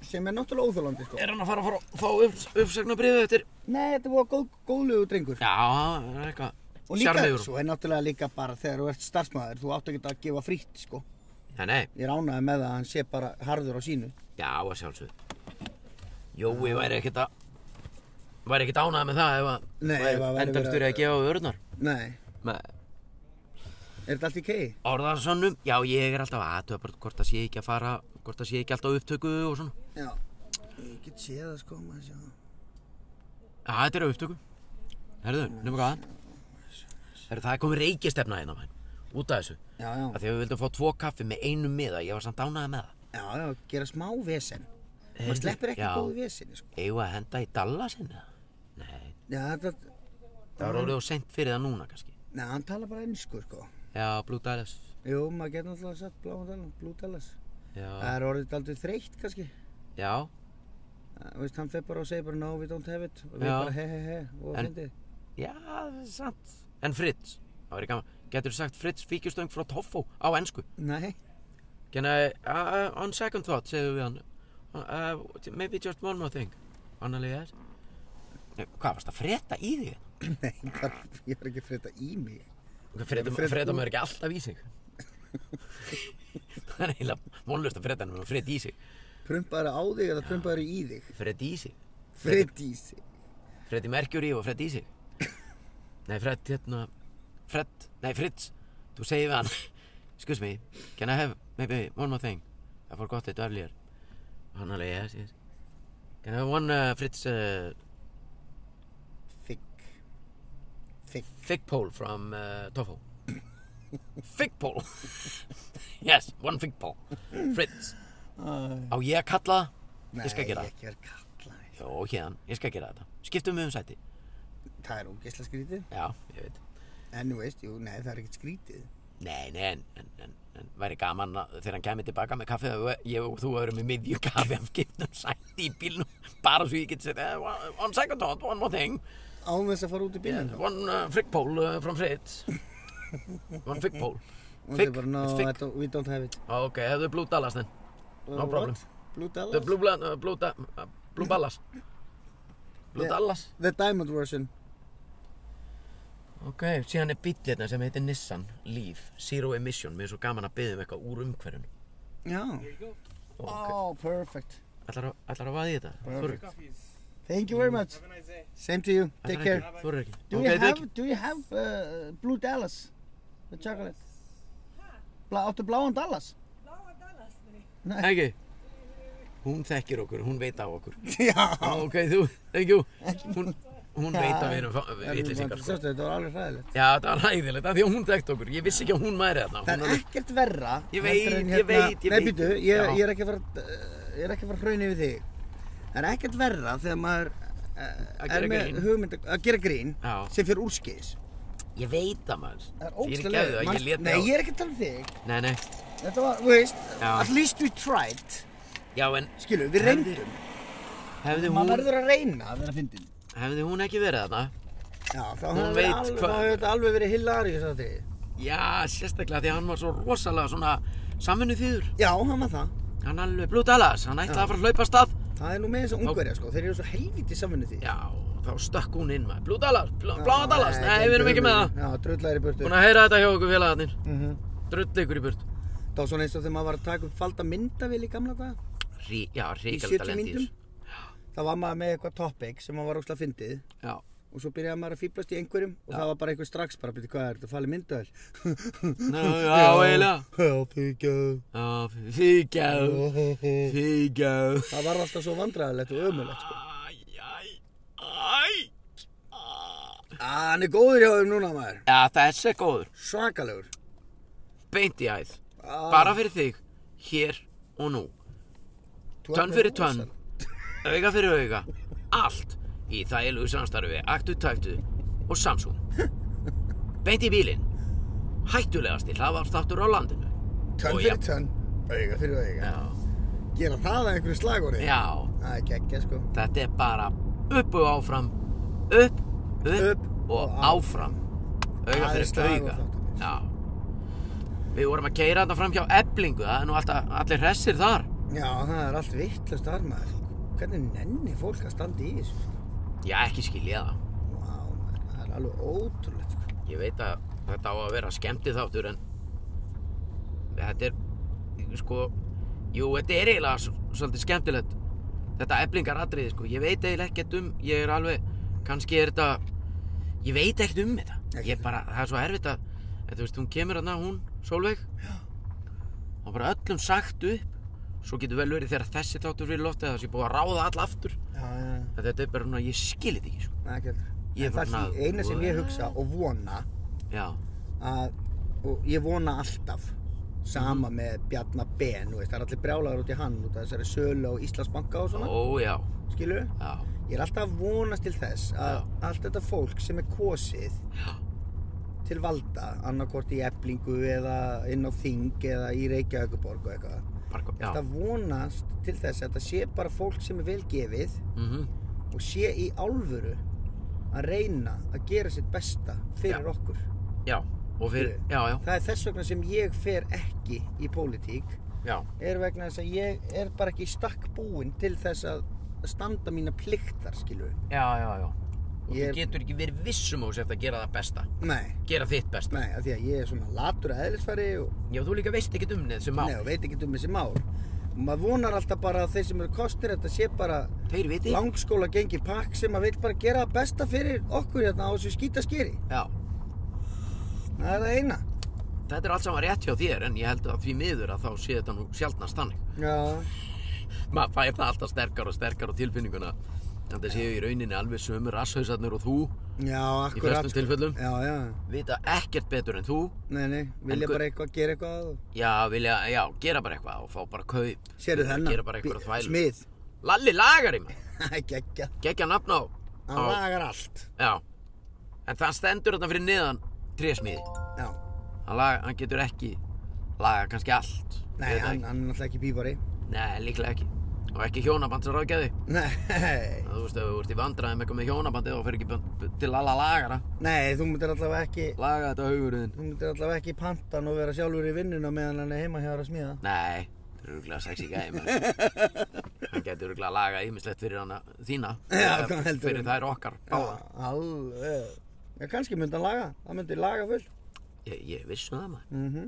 A: Sem er náttúrulega óþólandi, sko.
B: er hann að fara að fara að fá upp, uppsagnabriðu eftir?
A: Nei, þetta var góð, góðlegu drengur.
B: Já, það er eitthvað.
A: og líka,
B: Sjarmiður.
A: svo er náttúrulega líka bara þegar þú ert starfsmæður, þú átt ekki að gefa frítt, sko.
B: Nei, nei,
A: Ég ránaði með það að hann sé bara harður á sínu.
B: já, að sjálfsögðu. Jói væri ekkert að, væri ekkert ánað með það ef að
A: Nei, ef að væri verið
B: endast fyrir
A: að-
B: að gefa við örnar.
A: Nei,
B: Nei.
A: Er þetta allt í kei?
B: Orðarsönnum, já ég er alltaf aðtöða bara hvort það sé ekki að fara, hvort það sé ekki alltaf upptöku og svona.
A: Já. Ég get séð það sko, maður séð það.
B: Já, þetta er á upptöku. Herðu, nema hvað? Herðu, það er komið reykjastefna hérna mæn, út af þessu.
A: Já, já.
B: Af því að við vildum fá tvo kaffi með einum miða, ég var samt ánæði með það.
A: Já, já, gera smá vesen.
B: Heyrðu,
A: Maður sleppir ekki
B: já.
A: góðu veseni sko.
B: Eigum við að henda í Dallasinn eða? Nei,
A: Já, þetta,
B: það var orðið og sent fyrir það núna kannski.
A: neða, hann tala bara ennsku sko.
B: Já, Blue Dallas.
A: Jú, maður getur náttúrulega sett bláum dalum, blú dalas. Það
B: Já,
A: er orðið aldrei þreytt kannski.
B: já,
A: Það, Þú veist, hann fer bara og segir bara no, we don't have it. Og við
B: Já.
A: bara he he he og
B: En-
A: fyndið.
B: já, það er sant. En Fritz, það verið gaman. Getur sagt Fritz fíkjustöng frá Toffo á ennsku?
A: Nei,
B: Can I, uh, on second thought, segðu við hann, uh, maybe just one more thing, annarlega er. Nei, Hvað varst að freta í þig?
A: nei, bara, ég var ekki að frétta í mig.
B: Freta,
A: Frétta-
B: freta maður ekki alltaf í sig. það er eiginlega vonlust að freta hann, maður freta í sig.
A: Prumpaður á þig eða prumpaður í þig.
B: Freta í sig.
A: Frétt í sig.
B: Freti Mercury og freta í sig. Nei, Fred, hérna, Fred, nei, Fritz, þú segir við hann, excuse me, can I have maybe one more thing? I forgot it earlier. Hann alveg, yes, yes. Can I have one, uh, Fritz, uh,
A: Þigg. Þigg.
B: Fig pole from uh, Toffo. fig pole. yes, one fig pole. Fritz. Á ég að kalla það? Ég skal gera
A: Nei,
B: það.
A: ekki verið kalla. neitt.
B: Jó, hérðan, ég skal gera þetta. Skiptum við um sæti.
A: Það er ógeðslega skrítið.
B: Já, ég veit.
A: En þú veist, jú, nei, það er ekkert skrítið.
B: Nei, nei, en, en, en, en væri gaman að þegar hann kemur tilbaka með kaffið að við- ég og þú erum með miðju kaffi af skiptum sæti í bílnum bara svo ég geti sett eh, one, one second thought, one more thing
A: Án þess að fara út í bílinn.
B: yeah, one uh, fig pole uh, from Fritz one fig pole
A: Og
B: Fig,
A: þau bara, no,
B: it's
A: I
B: fig
A: don't, we don't have it.
B: Ok, hefðu blue Dallas then
A: Uh,
B: No problem.
A: what? Blue Dallas?
B: The Blue, Bla- uh, Blue, da, uh, Blue Ballas Blue
A: Yeah.
B: Dallas
A: The Diamond version.
B: Ok, síðan er bíll hérna sem heitir Nissan Leaf Zero Emission, mér er svo gaman að byggja um eitthvað úr umhverfun
A: Já.
C: Here you go.
B: Oh, okay.
A: Oh, perfect.
B: Ætlar að- ætlar að vaða í þetta?
A: Perfect.
B: Þorir-
C: Coffees.
A: Thank
B: Mm.
A: you very much.
C: Have a nice day.
A: Same to you.
B: ætlar
A: Take
B: ekki-
A: care.
B: Þorir ekki
A: Do
B: Ok,
A: you
B: thank
A: have, do you have uh, Blue Dallas? The chocolate? Bla, áttu bláan Dallas?
B: you. Ekki Hún þekkir okkur, hún veit af okkur
A: Já.
B: Ok, þú, thank you Hún, hún veit að við erum fa-
A: Það er
B: vitleysingar
A: bara-
B: sko.
A: sástu, Þetta var alveg hræðilegt.
B: Já, það var hæðilegt, af því að hún þekkt okkur Ég vissi ekki að hún mæri þarna Hún
A: Það er
B: alveg-
A: ekkert verra.
B: Ég
A: heldur
B: veit,
A: en hérna-
B: ég veit, ég
A: Nei,
B: veit.
A: býtu, ég,
B: Já.
A: ég er ekki að fara, uh, ég er ekki að fara hraun yfir þig. Það er ekkert verra þegar maður uh,
B: Að
A: er
B: gera
A: með
B: grín.
A: hugmynd að gera grín
B: Já.
A: sem fyrir úrskis.
B: Ég veit að maður
A: Það er
B: Ég er
A: ógstæðlega.
B: ekki að það, ég leti
A: Nei,
B: á
A: ég er ekki að tala um þig.
B: Nei, nei,
A: Þetta var, þú veist,
B: Já.
A: at least we tried.
B: já en
A: Skilu, við
B: Hefði-
A: reyndum.
B: Hefði
A: Maður
B: hún,
A: verður að reyna að vera fyndin.
B: hefði hún ekki verið þarna?
A: Já, þá
B: Hún
A: hefur
B: veit
A: þetta alveg,
B: hvað-
A: þá hefur þetta alveg verið hilarious að þig.
B: Já, sérstaklega því að hann var svo rosalega svona samvinnu þýður.
A: Já, hann var það.
B: Hann alveg blútt alas, hann ætlaði að fara að hlaupa af stað.
A: Það er nú með þess að ungverja, sko. Þeir eru svo helvítið samvinnið því.
B: Já, þá stökk hún inn maður. Blútt alas, blátt alas, nei, við erum ekki með það.
A: Já, drullar í burtu.
B: Búin að heyra þetta hjá okkur félagarnir.
A: Mhm.
B: Drull ykkur í burt.
A: Það var svona eins og þegar maður var að taka upp falda myndavél í gamla daga.
B: Rí, já,
A: Í
B: ríkalegt
A: 70
B: að lendi í
A: myndum.
B: þessu.
A: Það var maður með eitthvað topic sem maður var óslega fyndið
B: Já,
A: og svo byrjaði maður að fýblast í einhverjum og það var bara einhver strax bara, byrju, hvað er þetta, falið myndavél?
B: Ná, já, eiginlega.
A: Já, fíkjað.
B: já, þykjá, þykjá.
A: Það var alltaf svo vandræðilegt og ömulegt, sko.
B: Æ, æ, æ.
A: Á, "Ah, hann er góður hjá þeim núna, maður.
B: Já, þessi er góður.
A: Svakalegur. "Ah,
B: Beint í æð.
A: Á,
B: Bara fyrir þig, hér og nú. Tönn fyrir tönn,
A: rosaleg.
B: auga fyrir auga, allt í þægilegu samstarfi, aktu taktu og Samsung. Beint í bílinn, hættulegasti hlaðvarpstáttur á landinu.
A: Tönn
B: Og
A: fyrir
B: jafn-
A: tönn, auga fyrir auga.
B: Já,
A: Gera það að einhverju slagorði.
B: já,
A: Það er geggja, sko.
B: þetta er bara upp og áfram, upp, upp,
A: Upp og
B: og áfram. Auga
A: Það er
B: fyrir
A: slagorð
B: auga.
A: þáttarins.
B: Já. Við vorum að keira þarna fram hjá eblingu, það er nú alltaf, allir hressir þar.
A: Já, það er allt vittlust þar, maður. Hvernig nenni fólk að standa í þessu?
B: Já, ekki skilja það.
A: Vá, maður, það er alveg ótrúlegt sko.
B: Ég veit að þetta á að vera skemmti þáttur en þetta er sko, jú þetta er eiginlega s- svolítið skemmtilegt þetta eblingar atriði sko, ég veit eiginlega ekkert um ég er alveg, kannski er þetta ég veit ekkert um þetta, ég
A: Ekkert.
B: bara, það er svo erfitt að En þú veist, hún kemur hérna, hún, Sólveig Já Og bara öllum sagt upp Svo getur vel verið þegar þessi þáttur fyrir loftið Það sé búið að ráða all aftur
A: Já, já, já.
B: En Þetta er bara svona, ég skil þetta ekki, sko
A: Nei, ekki heldur.
B: Ég
A: En
B: bara
A: það er
B: svona-
A: því eina sem ég hugsa og vona
B: Já,
A: að, og ég vona alltaf, sama með Bjarnar Ben, þú veist, það er allir brjálagur út í hann út af þessari sölu á Íslandsbanka og svona,
B: ó já,
A: oh. skilur
B: já,
A: Ég er alltaf að vonast til þess að allt þetta fólk sem er kosið til valda, annarkvort í eblingu eða inn á þing eða í Reykjavíkuborg og eitthvað,
B: bara,
A: ég er alltaf
B: já
A: að vonast til þess að þetta sé bara fólk sem er velgefið
B: mm
A: og sé í alvöru að reyna að gera sitt besta fyrir
B: Já.
A: okkur.
B: Já, og fyrir, já, já,
A: Það er þess vegna sem ég fer ekki í pólitík
B: já
A: er vegna þess að ég er bara ekki í stakk búinn til þess að standa mína pliktar, skilur við.
B: Já, já, já Og
A: Ég-
B: þú getur ekki verið vissum á þessu eftir að gera það besta
A: Nei,
B: Gera þitt besta
A: nei, af því að ég er svona latur að eðlisfæri og,
B: Já, þú líka veist ekkert um neð sem á
A: nei, og veit ekki um þessi mál. Og maður vonar alltaf bara að þeir sem eru kostir þetta sé bara
B: Þeir viti
A: langskóla gengið pakk sem að vil bara gera það besta fyrir okkur hérna á þessu skítaskeri.
B: Já,
A: Það er það eina.
B: þetta er allt saman rétt hjá þér En ég held að því miður að þá sé þetta nú sjaldnast þannig
A: Já.
B: Maður fær það alltaf sterkar og sterkar á tilfinninguna En það séu í rauninni alveg sömu rasshausarnir og þú
A: Já, akkurat.
B: Í flestum
A: sko.
B: tilfellum
A: Já, já.
B: Vita ekkert betur en þú
A: Nei, nei, vilja
B: gu-
A: bara eitthvað, gera eitthvað. og-
B: Já, vilja, já, gera bara eitthvað og fá bara kaup
A: Sérðu þennan?
B: Gera bara eitthvað þvæl
A: Smið.
B: Lalli lagari maður
A: Gekkja.
B: Gekja nafn á
A: Hann
B: á-
A: lagar allt.
B: Já, en það stendur þarna fyrir niðan trésmiði.
A: Já.
B: Hann, laga, hann getur ekki laga kannski allt. Ég
A: Nei,
B: veit það
A: hann, hann er náttúrulega ekki bíbari.
B: ekki. Nei, líklega ekki. Og ekki hjónabandsrákjaði.
A: Nei.
B: Þú veist, ef þú ert í vandræðum eitthvað með hjónabandi þá fer ekki bönd- til alla lagara.
A: Nei, þú myndir allavega ekki,
B: Laga þetta á haugurinn.
A: þú myndir allavega ekki panta hann og vera sjálfur í vinnuna meðan hann er heima hjá þér að smíða.
B: Nei, það eru rúglega sexy gæði með. hann getur rúglega að laga ímislegt fyrir hana þína.
A: Já,
B: Eða
A: hvað heldur um?
B: Fyrir
A: þú?
B: þær okkar. báðar.
A: Alveg. Já, kannski myndi hann laga. Það myndi laga fullt.
B: Ég, ég vissu það maður.
A: Mhm.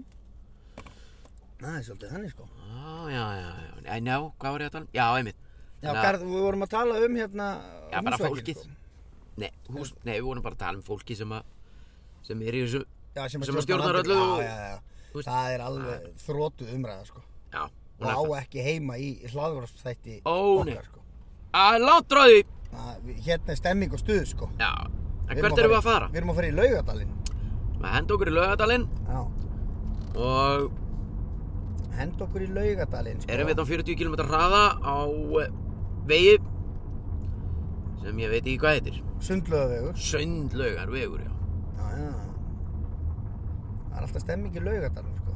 A: Það er svolítið þannig sko.
B: Já, já, já, já. Nei, njá, hvað var ég að tala um? Já, einmitt.
A: Já,
B: Þannig að-
A: Garð, við vorum að tala um hérna
B: Já, bara
A: húsvegginn,
B: fólkið.
A: sko.
B: Nei, hús, nei, við vorum bara að tala um fólki sem að sem er í þessu
A: Já, sem,
B: Sem að stjórnar
A: landinu.
B: öllu og-
A: Já, já, já.
B: Þú veist-
A: Það er alveg þrótu umræða sko.
B: Já,
A: Og
B: hún
A: á
B: er það
A: ekki heima í hlaðvarpstætti
B: Ó, nei.
A: sko.
B: Það er langt ráði
A: Það- Hérna er stemming og stuð sko.
B: Já, en
A: Við
B: hvert erum við að
A: í-
B: fara?
A: Við erum að fara í laugadalinn.
B: Við henda okkur í laugadalinn
A: Já.
B: og
A: Hend okkur í laugadalinn sko.
B: erum við á 40 km hraða á eh, vegi sem ég veit ekki hvað heitir
A: Sundlaugavegur.
B: Söndlaugar vegur, já
A: Já, já. Það er alltaf stemming í laugadalinn sko.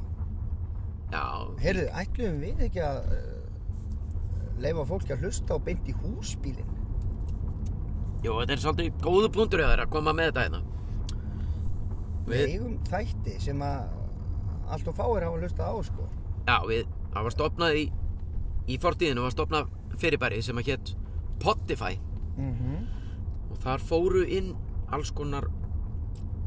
B: Já,
A: Heyrðu, ætlum við ekki að uh, leifa fólki að hlusta og beint í húsbílinn?
B: jú, þetta er svolítið góðu punktur hjá þér að koma með þetta hérna
A: Við
B: Við,
A: eigum þætti sem að allt og fáir hafa hlustað á sko.
B: já, við, það var stopnað í í fortíðinu var stopnað fyrirbæri sem að hétt Potify
A: Mm
B: Mhm. og þar fóru inn alls konar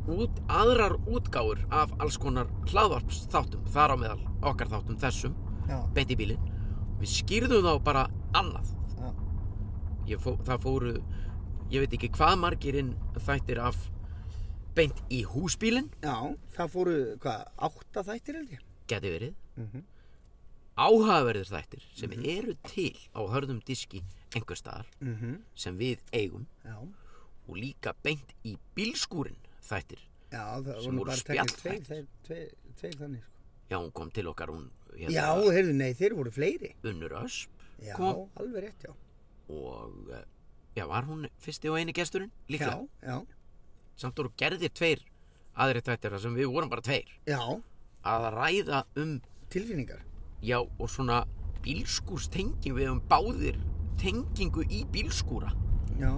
B: út, aðrar útgáfur af alls konar hlaðvarpsþáttum þar á meðal okkar þáttum þessum
A: Já,
B: beint í bílinn við skýrðum þá bara annað
A: já.
B: ég fó, það fóru ég veit ekki hvað margir inn þættir af beint í húsbílinn
A: Já, það fóru, hvað, átta þættir held ég?
B: geti verið
A: Mm
B: áhugaverðir þættir sem eru til á hörðum diski einhver staðar
A: Mhm.
B: sem við eigum
A: Já,
B: og líka beint í bílskúrin þættir
A: já, það
B: Sem
A: voru
B: voru
A: bara teknir tveir,
B: spjallþættir.
A: tveir, tveir, tveir þannig sko.
B: já hún kom til okkar hún hérna,
A: Já, heyrðu, nei, þeir voru fleiri.
B: Unnur Ösp
A: Já,
B: kom
A: alveg rétt, já.
B: og eh, já, var hún fyrsti og eini gesturinn líklega,
A: Já, já,
B: samt voru gerðir tveir aðri tvættir þar sem við vorum bara tveir
A: já,
B: að ræða um,
A: tilfinningar.
B: já og svona bílskúrstengingu, við hefum báðir tengingu í bílskúra
A: Já,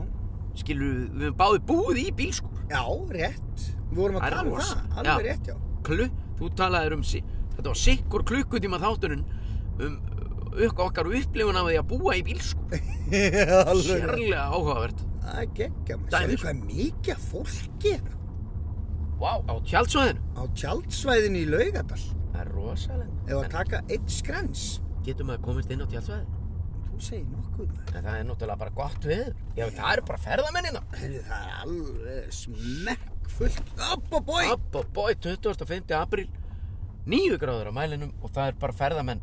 B: skilur við, við hefum báðir búið í bílskúr
A: já, rétt. Við vorum
B: Það er
A: að tala um
B: rosa.
A: það, alveg
B: Já.
A: rétt, já.
B: Klu, þú talaðir um si- þetta var sikkur klukkutíma þáttunum um ök, okkar upplifun af því að búa í bílskúr
A: alveg rétt.
B: sérlega áhugavert
A: Það er geggja,
B: Dæmi,
A: maður. Sérðu
B: sko.
A: hvað er mikið af fólki er
B: wow, á tjaldsvæðinu
A: á tjaldsvæðinu í Laugadal.
B: það er rosalega
A: Ef að
B: En
A: taka eitt skrens.
B: getum að komist inn á tjaldsvæði
A: Þú segir nokkuð, maður.
B: En það er náttúrulega bara gott við. Já, það eru bara ferðamenninna.
A: Heyrðu, það er alveg smekk fullt Abba boy!
B: Abba boy, 25. apríl 9 gráður á mælinum og það er bara ferðamenn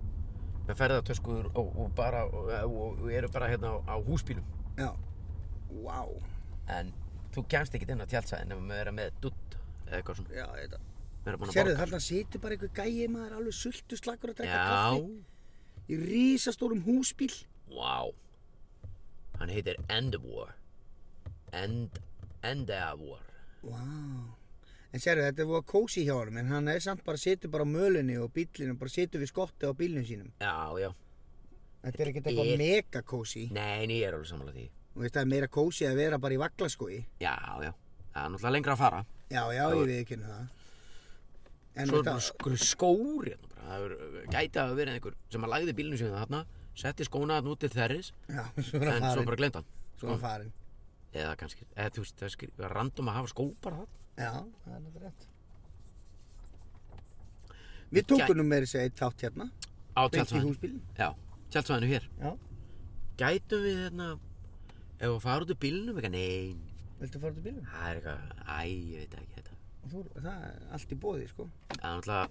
B: með ferðartöskur og, og bara og, og, og eru bara hérna á, á húsbílum
A: Já, wow
B: en þú kemst ekkert inn á tjálsæðin ef maður er með dutt eða eitthvað svona
A: Já, þetta
B: Vera búin að
A: Sérðu,
B: borga.
A: þarna situr bara einhver gæi maður alveg sultu slagur að drekka
B: Já,
A: kaffi í risastórum húsbíl
B: wow Hann heitir Endeavor End, Endeavor
A: Wow En sérðu, þetta er voða kósi hjá honum en hann er samt bara situr bara á mölunni og bílinu bara situr við skotti á bílnum sínum
B: Já, já,
A: Þetta er ekkert
B: Þetta
A: eitthvað
B: er-
A: mega kósi
B: nei, nei, ég er alveg sammála því
A: og veist, það er meira kósi að vera bara í vaglaskói
B: Já, já, það er náttúrulega lengra að fara
A: Já, já, ég veit ekki það
B: Svo
A: En
B: er
A: þetta,
B: bara skr- skór hérna bara. Það er, gæti að vera einhver sem að lagði bílnum síðan þarna setti skóna þarna út til þerris
A: já, svo er
B: en
A: hann
B: svo
A: farin
B: bara glemt hann
A: Svo er hann farin
B: eða kannski, eða þú veist, það er skri- random að hafa skó bara þarna
A: Já, það er náttúrulega rétt Við tókum nú meira sér eitt þátt hérna
B: á
A: Beint í
B: tjaldsvæðinu,
A: húsbílinn
B: já, tjaldsvæðinu hér
A: Já,
B: gætum við hérna ef að fara út úr bílnum eitthvað, nei,
A: viltu fara til bílum?
B: það er eitthvað æ, ég veit ekki þetta
A: Þú, það er allt í bóði, sko
B: það er náttúrulega,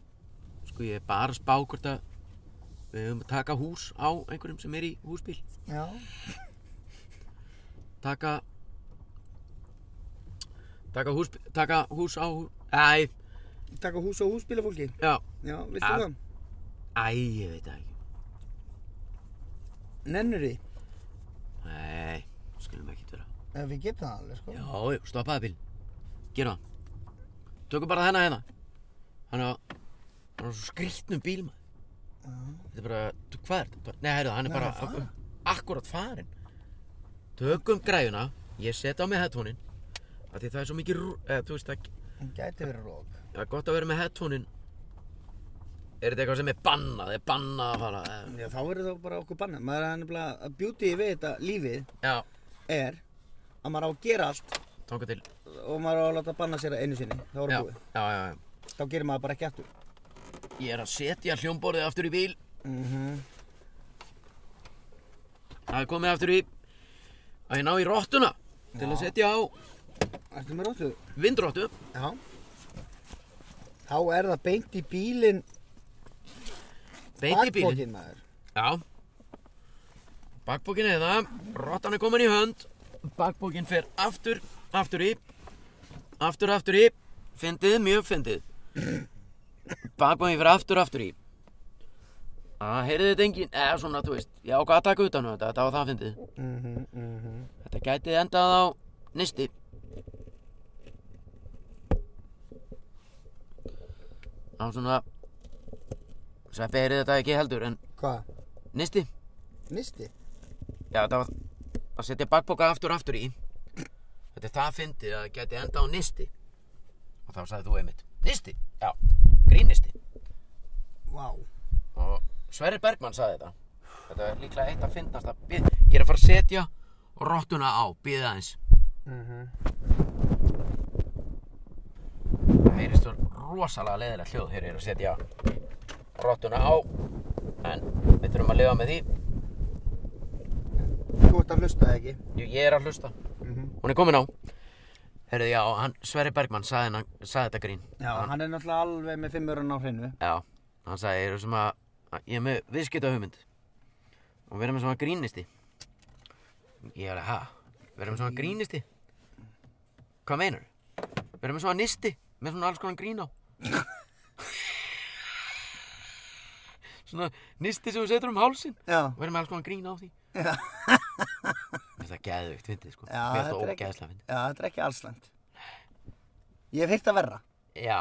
B: sko ég er bara að spá hvort að við höfum að taka hús á einhverjum sem er í húsbíl
A: Já
B: taka taka hús taka hús á æ,
A: Takka hús og húsbíla fólki
B: já,
A: Já, viltu
B: Ja.
A: það?
B: æ, ég veit það ekki
A: Nennur því?
B: nei, skulum ekki vera
A: Ef Eh, við getum það alveg, sko
B: já, já, stoppaði bíl gera það tökum bara þennan hérna hann er hann er svo skrýtnum bíl maður þetta er bara, þú, hvað er þetta? nei, heyrðu, hann er
A: Nei,
B: bara
A: hann er farinn.
B: akkurat farin tökum græjuna ég set á mig headphone-in af því það er svo mikið, rú- eða, þú veist, það
A: Hún gæti verið rók
B: Það er gott að vera með headphone-in Er þetta eitthvað sem er bannað? Er bannað að fara? eh,
A: Já, þá verður það bara okkur bannað Maður er nefnilega, beauty við þetta lífið
B: Já,
A: er að maður á að gera allt
B: tónka til
A: og maður á að láta banna sér einu sinni þá er
B: já,
A: það búið,
B: já, já, já
A: þá gerir maður bara ekki aftur
B: Ég er að setja hljómborðið aftur í bíl
A: mm
B: Mhm.
A: -hmm.
B: Það er komið aftur í að ég ná í rottuna Til að setja á
A: Ertu með rótlu?
B: vindrottu
A: Já Þá er það beint í bílinn
B: Beint í bílinn
A: bakpokinn, maður.
B: Já Bakbókin eða Rottan er komin í hönd Bakbókin fer aftur, aftur í Aftur, aftur í Fyndið, mjög fyndið Bakbókin fer aftur, aftur í Það heyrði þetta engin Eða svona, þú veist Ég ákvað að taka utan um þetta, þetta var það fyndið
A: Mhm, mhm.
B: Þetta gæti endað á nisti Á svona Sveppi heyrði þetta ekki heldur en
A: Hvað?
B: nisti
A: Nisti?
B: Já, þetta var að setja bakboka aftur og aftur í Þetta er það að fyndið að það geti enda á nisti Og þá sagði þú einmitt Nisti? Já, grínisti
A: Vá
B: Og Sverri Bergmann sagði þetta Þetta er líklega eitt að fyndast að bið Ég er að fara að setja rottuna á, bið aðeins
A: Mhm.
B: Það heyrist þú rosalega leiðilega hljóð Þegar ég er að setja rottuna á En við þurfum að lifa með því
A: Þú ert að hlusta það ekki?
B: Jú, ég er að hlusta
A: Mhm.
B: Hún er komin á Herðu, já, hann, Sverri Bergmann sagði, hennan- sagði þetta grín
A: Já, hann er náttúrulega alveg með fimmurinn á hreinu
B: Já, hann sagði, ég er sem að, að ég er með viðskipta hugmynd og við erum með svona grínisti Ég er að, ha? Við erum með svona grínisti? Hvað meinar? Við erum með svona nisti með svona alls konar grín á Svona nisti sem þú setur um hálsinn
A: Já
B: og við erum með alls konar grín á því
A: Já,
B: Þetta er geðveikt fyndið sko
A: Já,
B: Mér finnst
A: þetta
B: það
A: er ekki-
B: ógeðslega fyndið
A: Já þetta er ekki allsland Ég hef heyrt að verra
B: Já,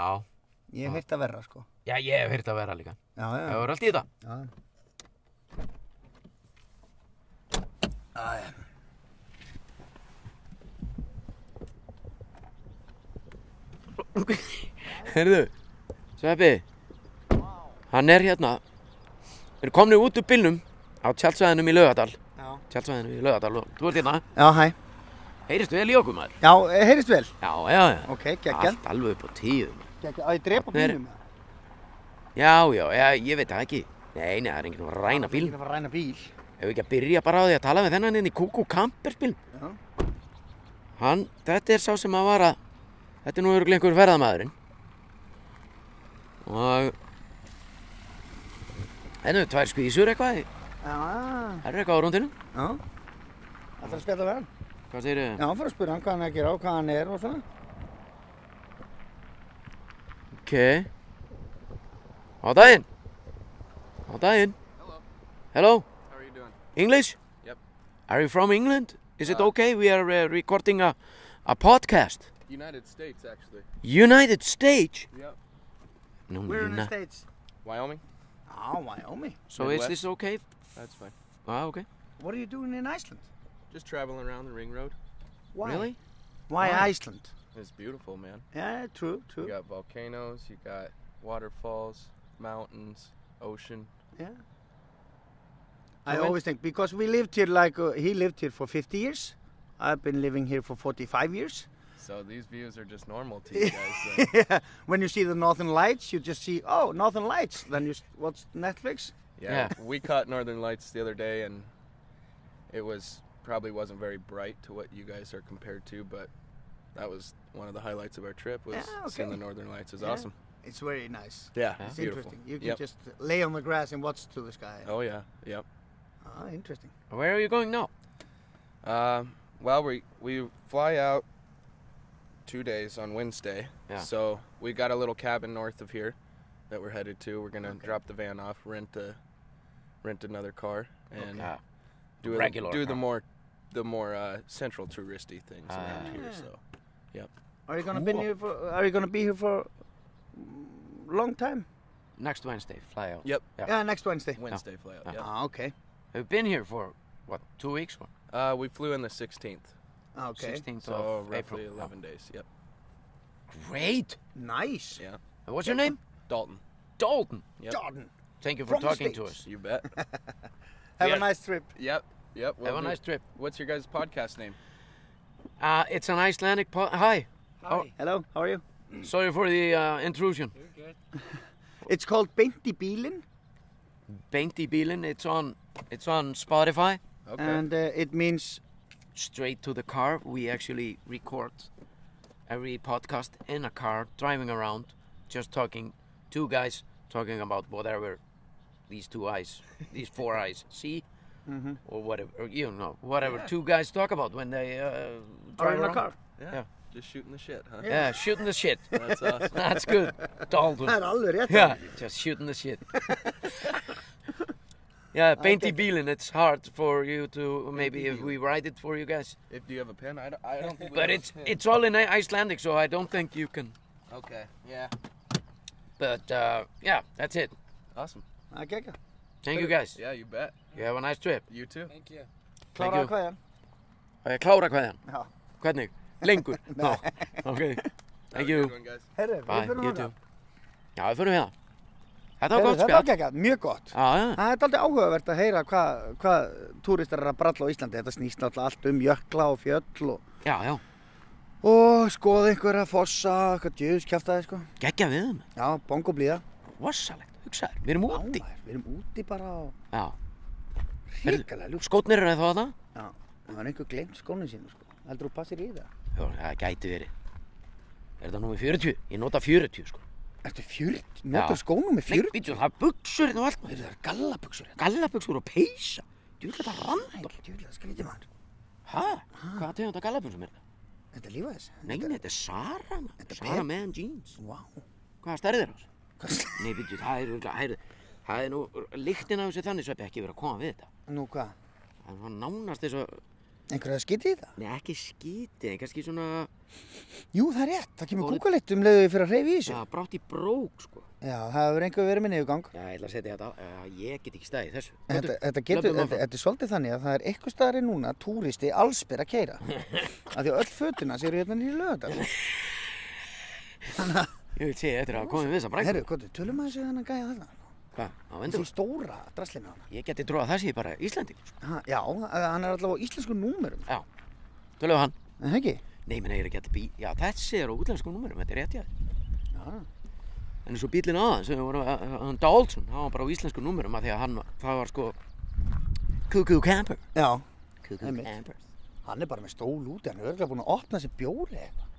A: Ég hef heyrt að verra, sko
B: já ég hef heyrt að vera líka
A: Já, já,
B: Það voru allt í þetta
A: já Æ,
B: Heyrðu, Sveppi Hann er hérna Við erum komnir út úr bílnum á tjaldsvæðinum í Laugadal
A: Já
B: Tjaldsvæðinum í Laugadal og þú ert hérna
A: Já, hæ
B: Heyristu vel í okkur maður
A: Já, heyrist vel
B: Já, já, já
A: Ok, geggjað
B: Allt alveg upp á tíu maður.
A: Geggjað, á ég drepa
B: Nei.
A: bílum eða?
B: Já, já, já, ég veit það ekki Nei, nei, það er enginn að ræna bíl
A: Ég er að fara að ræna bíl
B: Ef við ekki að byrja bara á því að tala við þennan inn í Kúkú Kampersbíl
A: Já.
B: Hann, þetta er sá sem að var að Þetta er nú örugglega einhver ferðamaðurinn. Og... Þetta eru tvær skvísur eitthvað. í-
A: Já,
B: Það eru eitthvað á rúndinu.
A: já. Það er að spjalla við hann.
B: Hvað segir
A: Já, hann fór að spyrja hann hvað hann er að gera og hvað hann er og svona.
B: Ok. Á daginn. Á daginn. Hello. Hello.
D: How are you doing?
B: English?
D: Yep.
B: Are you from England? Is it
D: Uh,
B: okay? We are uh, recording a, a podcast.
D: United States, actually.
B: United States?
D: Yep.
B: No,
A: We're in the
B: uni-
A: States.
D: Wyoming?
A: Oh, Wyoming.
B: So is
D: Midwest.
B: this okay?
D: That's fine.
B: Ah, okay.
A: What are you doing in Iceland?
D: Just traveling around the ring road.
A: Why?
B: Really?
A: Why
B: Why?
A: Iceland?
D: It's beautiful, man.
A: Yeah, true, true.
D: You got volcanoes, you got waterfalls, mountains, ocean.
A: Yeah. I
B: when-
A: always think because we lived here like uh, he lived here for 50 years. I've been living here for 45 years.
D: So these views are just normal to you guys. Then.
A: when you see the Northern Lights, you just see oh Northern Lights. Then you s- watch Netflix.
D: Yeah,
B: Yeah.
D: We caught northern lights the other day, and it was probably wasn't very bright to what you guys are compared to, but that was one of the highlights of our trip was
A: Yeah,
D: seeing
A: okay.
D: the northern lights. It was
A: Yeah.
D: awesome.
A: It's very nice.
D: Yeah.
A: It's
D: beautiful.
A: interesting. You can
D: Yep.
A: just lay on the grass and watch to the sky.
D: Oh yeah. Yep.
A: Ah, interesting.
B: Where are you going now?
D: Um, well, we we fly out two days on Wednesday,
B: Yeah.
D: so we got a little cabin north of here that we're headed to. We're gonna drop the van off, rent a rent another car, and
B: Ah,
D: do a-
B: Regular
D: do the
B: car.
D: more the more uh, central touristy things around
B: Ah.
D: here. So, yep.
A: Are you gonna be here for? Are you gonna be here for? mm, Long time.
B: next Wednesday, fly out.
D: Yep.
B: Yeah.
A: Yeah, next Wednesday.
D: Wednesday fly out.
B: Yeah.
D: Yep.
A: Ah, okay.
B: We've been here for what? Two weeks or
D: Uh, we flew in the 16th,
A: Ah, Okay.
B: 16th
D: so
B: of April.
D: roughly
B: Ah,
D: 11 days. Yep.
B: Great.
A: Nice.
D: Yeah.
B: And What's your name?
D: Dalton.
B: Dalton.
D: Yep.
A: Jordan.
B: Thank you for
A: From the
B: talking to
A: States.
B: us.
D: You bet.
A: Have
D: Yeah.
A: a nice trip.
D: yep. Yep. we'll
B: Have a
D: do.
B: nice trip.
D: What's your guys' podcast name?
B: Uh, it's an Icelandic po- Hi. Oh,
A: Hello. How are you?
B: sorry for the uh, intrusion.
A: It's called Binti Bílin
B: Beinti Bílin, it's on it's on Spotify.
D: Okay.
A: and uh, it means
B: Straight to the car. We actually record every podcast in a car, driving around, just talking. Two guys talking about whatever these two eyes, these four eyes see,
A: Mm-hmm.
B: or whatever, or, you know, whatever two guys talk about when they uh,
A: are
B: drive
A: in a
B: around.
A: car.
B: Yeah.
D: Just shooting the shit, huh?
B: Yeah, shooting the shit.
D: That's awesome.
B: That's good, Dalton.
A: Það er alveg rétt.
B: Yeah, just shooting the shit. yeah, Painty Beelin, it's hard for you to maybe if we write it for you guys.
D: If do you have a pen, I don't, I don't think. we
B: But
D: have a
B: it's
D: pen.
B: it's all in I- Icelandic, so I don't think you can.
D: okay. Yeah.
B: But uh, yeah, that's it.
D: Awesome.
A: Það gekka.
B: Thank you guys.
D: Yeah, you bet.
B: You have a nice trip.
D: You too.
C: Thank you.
B: Thank
A: Klára
B: you.
A: að kvæðan.
B: Á ég að klára hvaðan?
A: Já.
B: Hvernig? Lengur? Ná, ok.
D: Have
B: Thank
D: a
B: you.
D: good one, guys.
A: Herru,
B: Bye,
A: við fyrir
B: you
A: að
B: too.
A: það.
B: Já, við fyrir við það. Þetta var gott
A: Herru, þetta var
B: spjall.
A: gekka, mjög gott.
B: Já, já.
A: Það er aldrei áhugavert að heyra hvað hva túristar er að bralla á Íslandi. Þetta snýst náttúrulega allt um jökla og fjöll og,
B: Já, já.
A: og skoða einhverja fossa, hvað djöðus kjæftaði sko.
B: Gekkja við þeim.
A: Já, bongo blíða.
B: Vassalegt. Hugsaður. Við erum
A: Já,
B: úti.
A: maður, Við erum úti bara á
B: Já.
A: hrikalega ljúks.
B: Skotnir eru þá þarna?
A: Já, það var einhver glemt skónin sínu sko. Heldur þú passir í það?
B: Já, það gæti verið. Er þetta númið 40? Ég nota 40 sko.
A: Ertu 40? Notar
B: Já.
A: skónum með 40?
B: Nei, býttu, það er buksur hérna og allt. maður.
A: Það eru gallabuxur. hérna.
B: Gallabuxur og peysa. Þú vil þetta randar.
A: Djúlega skrítið maður.
B: Hæ? Hvað tegum þetta gallabuxum er þetta?
A: Þetta er lífa þess.
B: Nei, nei, þetta er Sara. maður.
A: Þetta er
B: Sara
A: ber-
B: man jeans.
A: Vá.
B: Hvaða stærðir það?
A: Hvað-
B: Nei, býttu, það er, það er, það er nú, lyktin af þessu þannig sveppi ekki verið að koma við þetta.
A: Nú hvað?
B: Það er svona nánast þess að,
A: Einhverja skítið í það?
B: nei, ekki skítið, kannski svona,
A: Jú, það er rétt. Það kemur
B: Orðið-
A: kúkalitt um leiðu fyrir að hreyfi í þessu.
B: já,
A: Já,
B: brátt í brók, sko.
A: það hefur einhver verið með niðurgang.
B: Já, ég ætla að setja þetta á, já, ég get ekki staðið í þessu.
A: Þetta,
B: Komdu,
A: þetta getur,
B: löbbum
A: þetta,
B: áfram.
A: þetta er svolítið þannig að það er eitthvað staðar í núna túristi allsbyr að keira. Af því að öll fötuna séu hérna nýri lögadal.
B: Ég vil segja, þetta er að koma við þessa brækur.
A: Herru, hvað, tölum að þessu þannig gæja þarna?
B: Hvað, á
A: Þessi
B: endur?
A: stóra draslið með hana.
B: Ég geti trúið að það sé bara Íslandingur, sko.
A: Ha, já, að- hann er allavega á íslensku númerum.
B: Já. Tölum við hann.
A: En það ekki?
B: Nei, menn, ég er ekki að bí... Já, þessi er á útlenskum númerum, þetta er rétt ég.
A: Já.
B: En eins og bílinn aðan, sem voru, hann Dálsson, hann var bara á íslenskum númerum af því að hann, það var sko... Cuckoo Camper.
A: Já,
B: Cuckoo
A: Einmitt.
B: Camper.
A: hann er bara með stól úti, hann er örgulega búin að opna þessi bjóri eitthvað.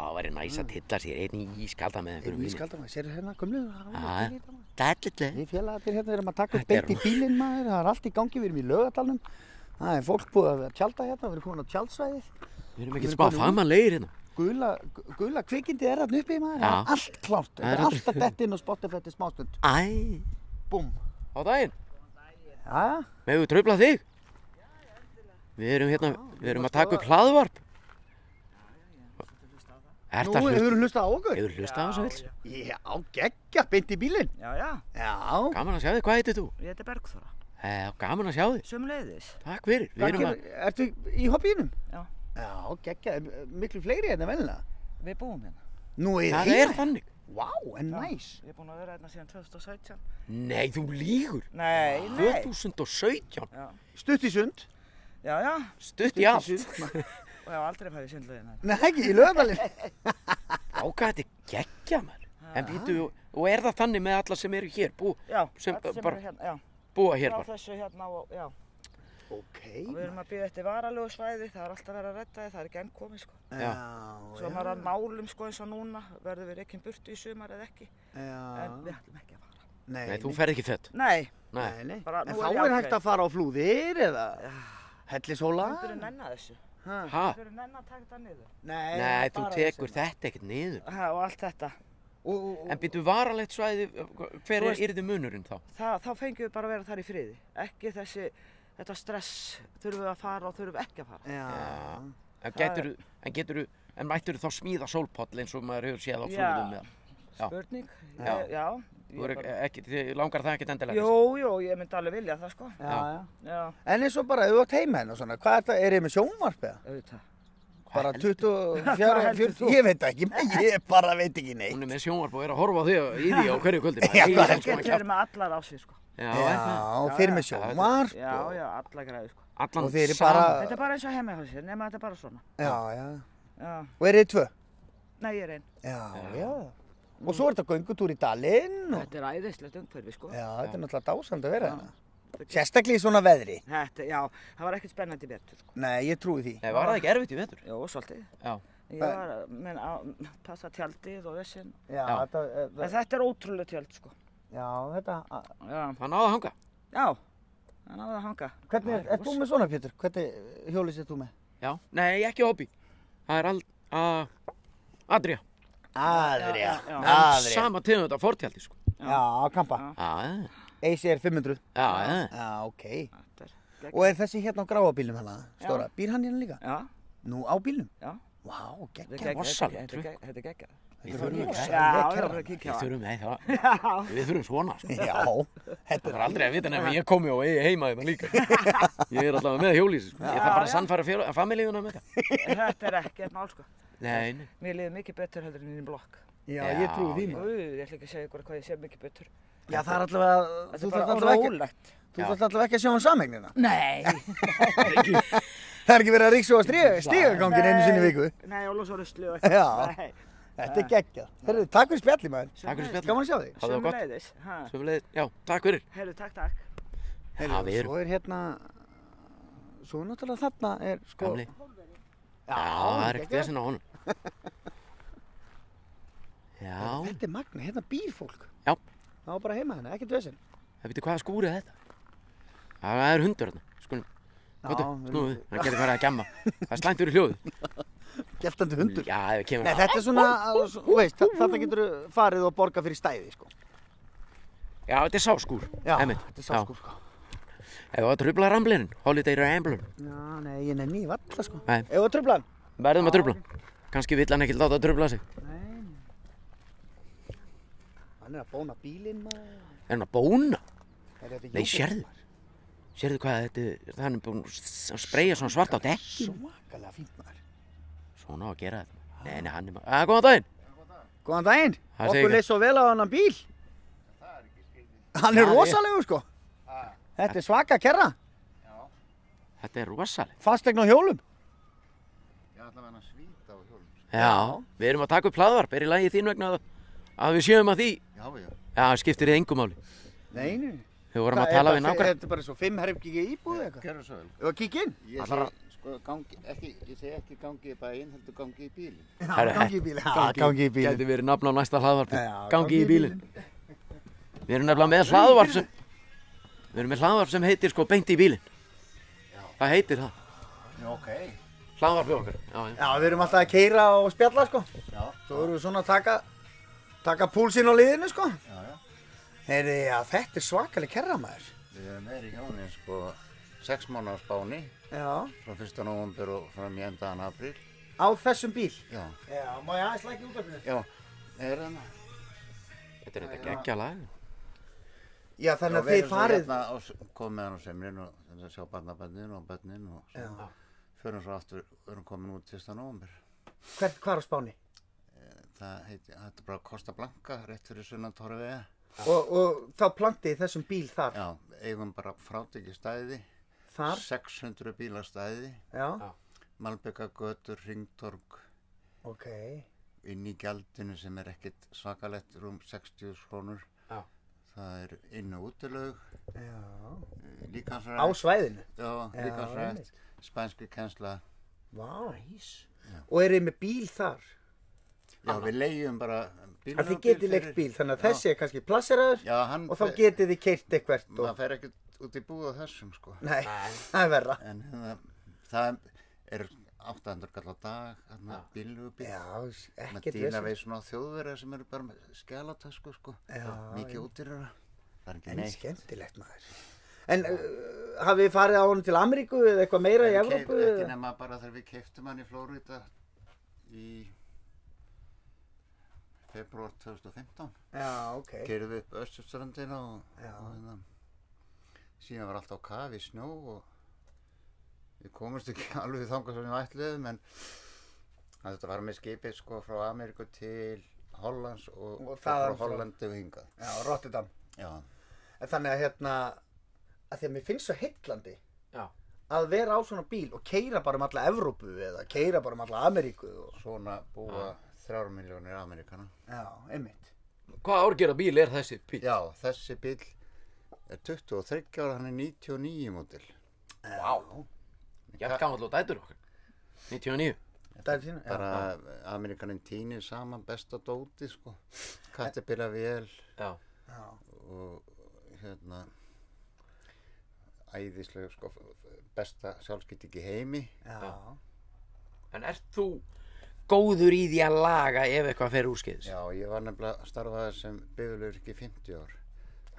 B: það væri næs að tilla sér einn í skalda með
A: Erum
B: einhverjum
A: við skaldar maður, sérðu hérna gömlu?
B: Já,
A: Það er
B: já. Dællileg.
A: Við félagarnir hérna erum að taka upp
B: Þetta er
A: beint í bílinn maður, það er allt í gangi, við erum í laugadalnum. Það er fólk búið að tjálta hérna, við erum komin á tjálsvæðið.
B: Við erum ekkert
A: Við erum
B: spá
A: komin út.
B: fagmannlegir hérna.
A: Gula, gu- gula kvikindið er hérna uppi maður,
B: Já.
A: það er allt klárt.
B: Það er
A: Það er
B: aldrei-
A: allt að detta inn og spotta fyrir smástund.
B: Æ.
A: Búm.
B: hérna. Á daginn.
A: Já,
B: Megum við tröfla þig? Við erum hérna, við erum að taka upp hlaðvarp. Er
A: nú
B: það hlusta?
A: hefur við hlustað á okkur.
B: Hefur hlusta á þessu vils?
A: Já, geggja, beint í bílinn.
E: Já, já,
A: Já.
B: Gaman að sjá þig, hvað heitir þú?
E: ég heiti Bergþóra.
B: E, gaman að sjá þig.
E: Sumleiðis.
B: Takk fyrir. Við
A: Hvað
B: erum að,
A: gerir- Ertu í hobbínum?
E: Já.
A: Já, geggja, miklu fleiri hérna venlega.
E: Við búum hérna.
A: Nú er
B: það er þannig.
A: Vá, en næs.
E: Ég er búin að vera hérna síðan 2017.
B: Nei, þú lígur.
E: Nei, nei.
B: 2017.
E: Já,
A: Stutt í sund.
E: já, já.
B: Stutt í allt.
E: Og ég hef aldrei farið í sundlaugina.
A: Nei, ekki í lögadalinn.
B: Ákvað þetta er geggja maður. En býtu, og er það þannig með alla sem eru hér, bú,
E: Já,
B: Sem-
E: allt sem
B: bara-
E: eru hérna, já.
B: búa hér
E: Frá
B: bara?
E: þessu hérna og, já.
A: Ok.
E: Og við erum að býða eftir varalögu svæði, það er alltaf verið að redda þið, það er ekki enn komið, sko.
B: Já.
E: Svo
A: Já,
E: maður er að málum, sko, eins og núna, verður við reykinn burtu í sumar eða ekki. En
A: já.
E: við ætlum ekki að fara.
B: Nei, þú ferð ekki þetta.
E: Nei,
B: Nei,
A: Nei, nei.
E: Bara
A: en þá
E: nú er ég
A: er
E: ákveðin.
A: hægt að fara á flúðir eða hellishóla.
E: við byrjum nenna þessu.
B: ha?
E: Við byrjum nenna að taka þetta niður.
A: Nei,
B: Nei, þú
A: bara
B: tekur
A: þessi.
B: þetta ekkert niður.
E: Ha, og allt þetta.
A: Og, og, og,
B: En byrju varalegt svæði, hver
E: Þú
B: er
E: veist-
B: yrði munurinn þá?
E: það, þá fengjum við bara að vera þar í friði. Ekki þessi, þetta stress, þurfum við að fara og þurfum við ekki að fara.
A: já.
B: En getur, en getur, en mættur þá smíða sólpoll eins og maður hefur séð á
E: Já.
B: flúðum eða? Já.
E: Spurning?
B: Já.
E: Ég, já.
B: Þú er
E: Ég bara,
B: ekki, þið langar það ekkert endilega?
E: jó, jó, ég myndi alveg vilja það, sko.
A: Já, já.
E: Já,
A: En eins og bara, ef þú átt heima henn og svona, hvað er þetta, er ég með sjónvarp eða?
E: auðvitað.
B: Hvað
A: Bara
B: heldur?
A: 24,
E: heldur
A: 40, ég veit ekki, ég bara veit ekki neitt.
B: Hún er með sjónvarp og er að horfa á þig í því á hverju kvöldi.
A: Já,
B: Nei, ég
A: hvað
E: Það
B: elsku
E: getur
B: hann
E: verið
B: kjátt.
E: með allar á sig, sko.
B: Já, er það?
A: Já, þeir með sjónvarp
E: Já,
A: og,
E: já, alla græði, sko.
B: Allan
A: og þeir eru
B: saman.
A: bara,
E: Þetta er bara eins og heima hjá sér, nema þetta er bara svona.
A: já, já.
E: Já,
A: Og er þið tvö?
E: nei, ég er einn.
A: Já, já. Og svo er þetta göngutúr í dalinn og,
E: Þetta er æðislegt umhverfi, sko.
A: já, þetta er náttúrulega dásand að vera hérna. Sérstaklega í svona veðri.
E: Þetta, já, það var ekkert spennandi betur, sko.
A: Nei, ég trúi því.
B: Nei, var það ekki erfitt í vetur?
E: Jó, svolítið.
B: Já.
E: Ég var, að- menn, að passa tjaldið og þessin.
A: Já,
B: Já.
A: Þetta, eh,
E: En þetta er ótrúlega tjald, sko.
A: já, þetta,
E: Já.
B: Það náða að hanga.
E: Já, það náði að hanga.
A: hvernig, er, ert þú með svona Pétur? Hvernig hjólið sér þú með?
B: Já. Nei, ekki hobby. Það er all... að... Adria.
A: Aðrja,
E: Já, já, já.
A: aðrja.
B: Sama tegund af fortjaldi, sko.
A: Já, á kampa.
E: Já.
B: Já,
A: ACR 500.
B: já, já.
A: Já, ok.
E: Þetta er
A: Og er þessi hérna á gráa bílnum hérna, stóra? Býr hann hérna líka?
E: Já,
A: Nú, á bílnum?
E: já.
A: Vá, gegn.
E: Þetta er
B: rosalegt
E: geggjað, þetta er geggjað, Þetta er geggjað.
B: Við þurfum
E: Já,
B: ekki.
E: já, það er að kíkja
B: Við
E: á það.
B: þurfum, nei, það... Við þurfum svona, sko.
A: Já, þetta
B: Það
A: er
B: er aldrei að vita nefnum ég komi og eigi heima þetta líka. Ég er allavega með hjólísi, sko. Ég þarf bara að sannfæra fjör, að familíuna með það.
E: Þetta er ekkert mál, sko.
B: Nei, nei.
E: Mér liði mikið betur heldur en í blokk.
A: Já, ég trúi því
B: Já,
A: maður.
E: Guð, ég ætla ekki að segja ykkur hvað ég sé mikið betur.
A: Já, það er allavega,
E: Þetta
A: þú
E: er
A: þarf
E: bara
A: allavega ekki,
E: rólegt.
A: þú þarf allavega ekki að sjá hann samegnina.
E: Nei.
A: Það er ekki verið að ríksu á stígagangin einu sinni í viku.
E: Nei, og losa rusli og
A: Já.
E: Nei,
A: Þetta er geggjað. Herru, takk fyrir spjalli maður.
B: Takk fyrir spjallum.
A: Gaman að sjá þig.
B: Hafðu það gott.
E: sömuleiðis. Ha,
B: Sömulegð, já, takk fyrir.
E: Heyrðu, takk, takk.
A: Heyrðu,
B: Já, við erum-
A: Svo er hérna, svo er náttúrulega þarna er sko...
B: Gamli.
A: Já,
B: Já, það er ekkert
A: geggjað.
B: vesinn á honum. Já,
A: Þetta er magna, hérna býr fólk.
B: Já.
A: Það var bara heima hérna, ekkert vesinn.
B: það veitir hvaða skúrið þetta? Það er hundur hérna, skulum. Kóttu,
A: Já, við-
B: snúðu, hann getur farið að gemma. Það er slæmt fyrir hljóðu.
A: Geltandi hundur.
B: Já, ef við kemur
A: Nei, þetta er svona, svo- þú veist, þa- þarna getur farið og borga fyrir stæði, sko.
B: Já, þetta er sáskúr.
A: Já,
B: einmitt.
A: þetta er sáskur, sko.
B: Já, Ef það trubla ramblinin, Holiday Rambler,
A: Já, nei, ég nenni í valla, sko.
B: Nei.
A: Ef að trubla hann?
B: verðum að trubla. Kanski vill hann ekki láta að trubla sig.
A: Nei. Hann er að bóna bílinn, maður.
B: Er hann að bóna?
A: Er þetta
B: Nei,
A: jógúrt?
B: sérðu. Sérðu hvað þetta er, hann er búinn að s- að spreyja svona svart á dekk.
A: Svakalega fínt, maður.
B: Svona á að gera þetta. Nei, nei, hann er maður. Að, góðan daginn.
A: Góðan daginn.
B: Það segir
A: Okkur
B: ekki.
A: leist svo vel á hann bíl. Hann er
B: Já, ég-
A: rosalegur, sko. Þetta er svaka kerra.
B: Þetta er rosaleg.
A: Fastegn á hjólum.
F: Já, allavega hann svíta á hjólum. sko.
B: Já, við erum að taka upp hlaðvarp, er í lagi þín vegna að, að við séum að því.
F: Já, já.
B: Já, skiptir þið engum máli.
A: Nei, nei.
B: Við vorum að tala við
A: nákvæmlega.
B: nákvæm.
A: Þetta er bara svo fimm herfgíkja íbúð eitthvað.
F: Gerðu svo vel.
A: Ef að kíkja inn.
F: Ég
B: Allara-
F: sé, Sko, gangi, ekki, ég segi ekki gangi í bæinn, heldur gangi í bílinn.
B: Herra,
A: gangi í bílinn. Ha,
B: gangi,
A: Ah, gangi í bílinn.
B: Gæti verið nafn á næsta hlaðvarpi.
A: Já,
B: gangi, í bílinn. Við erum nefnilega með hlaðvarp sem, við erum með hlaðvarp sem heitir sko beint í bílinn. Það heitir það.
F: Já, ok.
B: Hlaðvarpið okkar. Já, já.
A: Já, við erum alltaf að keira og spjalla sko.
F: Já,
A: Svo erum við svona að taka, taka púlsinn á liðinu sko.
F: já, já.
A: Heyri, já, þetta er svakaleg kerra maður.
F: Við erum meiri hjónin, sko, sex mánu á Spáni,
A: Já.
F: frá 1. november og fram í endaðan apríl.
A: Á þessum bíl.
F: Já,
A: Já, má ég aðeins lækja út af mér?
F: já, er hann.
B: Þetta er þetta geggja lag.
A: Já, þannig að þið farið.
F: Hérna, og s- komum með hann á semrin og þannig að sjá barnabönnin og bönnin og svo
A: Já.
F: förum svo aftur, erum komin út 1. november.
A: Hvert, hvar á Spáni?
F: Það heiti, þetta er bara Costa Blanca, rétt fyrir sunnan Torvega.
A: Og, og þá plantið þið þessum bíl þar.
F: Já, eigum bara frátekið stæði,
A: Þar,
F: 600 bílastæði,
A: já.
F: Malbygagötur, Ringtorg,
A: Ok.
F: inn í gjaldinu sem er ekkit svakalett rúm 60 krónur.
B: Já.
F: Það er inn og útilaug,
A: Já. Á
F: líkansrætt,
A: svæðinu. Já,
F: já, líkansrætt,
A: einmitt.
F: spænsku kennsla.
A: Vá. Nice. Og eru með bíl þar.
F: Já, við leiðum bara bílum.
A: Að þið getið leikt bíl, þannig að þessi er kannski plasseraður
F: Já, hann,
A: og þá getið þið keirt eitthvert
F: maður
A: og...
F: fer ekkit út í búið á þessum, sko.
A: Nei, það er verra.
F: En hérna, það er 800 kall á dag, hann er bílu bíl.
A: Já, s-
F: maður
A: ekkert
F: dýna
A: vesen.
F: við svona þjóðverða sem eru bara með skjálatösku sko
A: Já,
F: mikið útirra það er ekki
A: En
F: neitt
A: skemmtilegt maður. En uh, hafið þið farið á honum til Ameríku eða eitthvað meira í
F: En keypt-
A: Evrópu?
F: ekki
A: eða?
F: nema bara þegar við keiftum hann í Flórida í februar 2015
A: Já, ok.
F: keirðum við upp Östurstrandina og,
A: Já.
F: og hérna, síðan var allt á kafi í snjó og við komumst ekki alveg þangað sem við ætluðum en að þetta var með skipið sko frá Ameríku til Hollands og,
A: Og
F: og
A: þaðan
F: frá
A: frá-
F: Hollandi og hingað
A: Já, Rotterdam.
F: já
A: En þannig að hérna, að því að mér finnst svo heitlandi
B: Já.
A: að vera á svona bíl og keira bara um alla Evrópu eða keira bara um alla Ameríku og...
F: svona búa þrjár miljónir ameríkana.
A: Já, einmitt.
B: Hvað árgera bíl er þessi bíl?
F: Já, þessi bíl er 23 ára, hann er 99 mótil.
B: Vá. Ég gaf alltaf dætur okkar. 99.
A: Það er sína, já.
F: Bara ameríkanin týnir saman besta dóti, sko. Kattibila vel
B: Já.
A: já.
F: og hérna æðislega, sko, besta sjálfskytting í heimi.
A: Já.
B: En ert þú góður í því að laga ef eitthvað fer úrskeiðis?
F: Já, ég var nefnilega starfaði sem byggðulegur ekki 50 ár.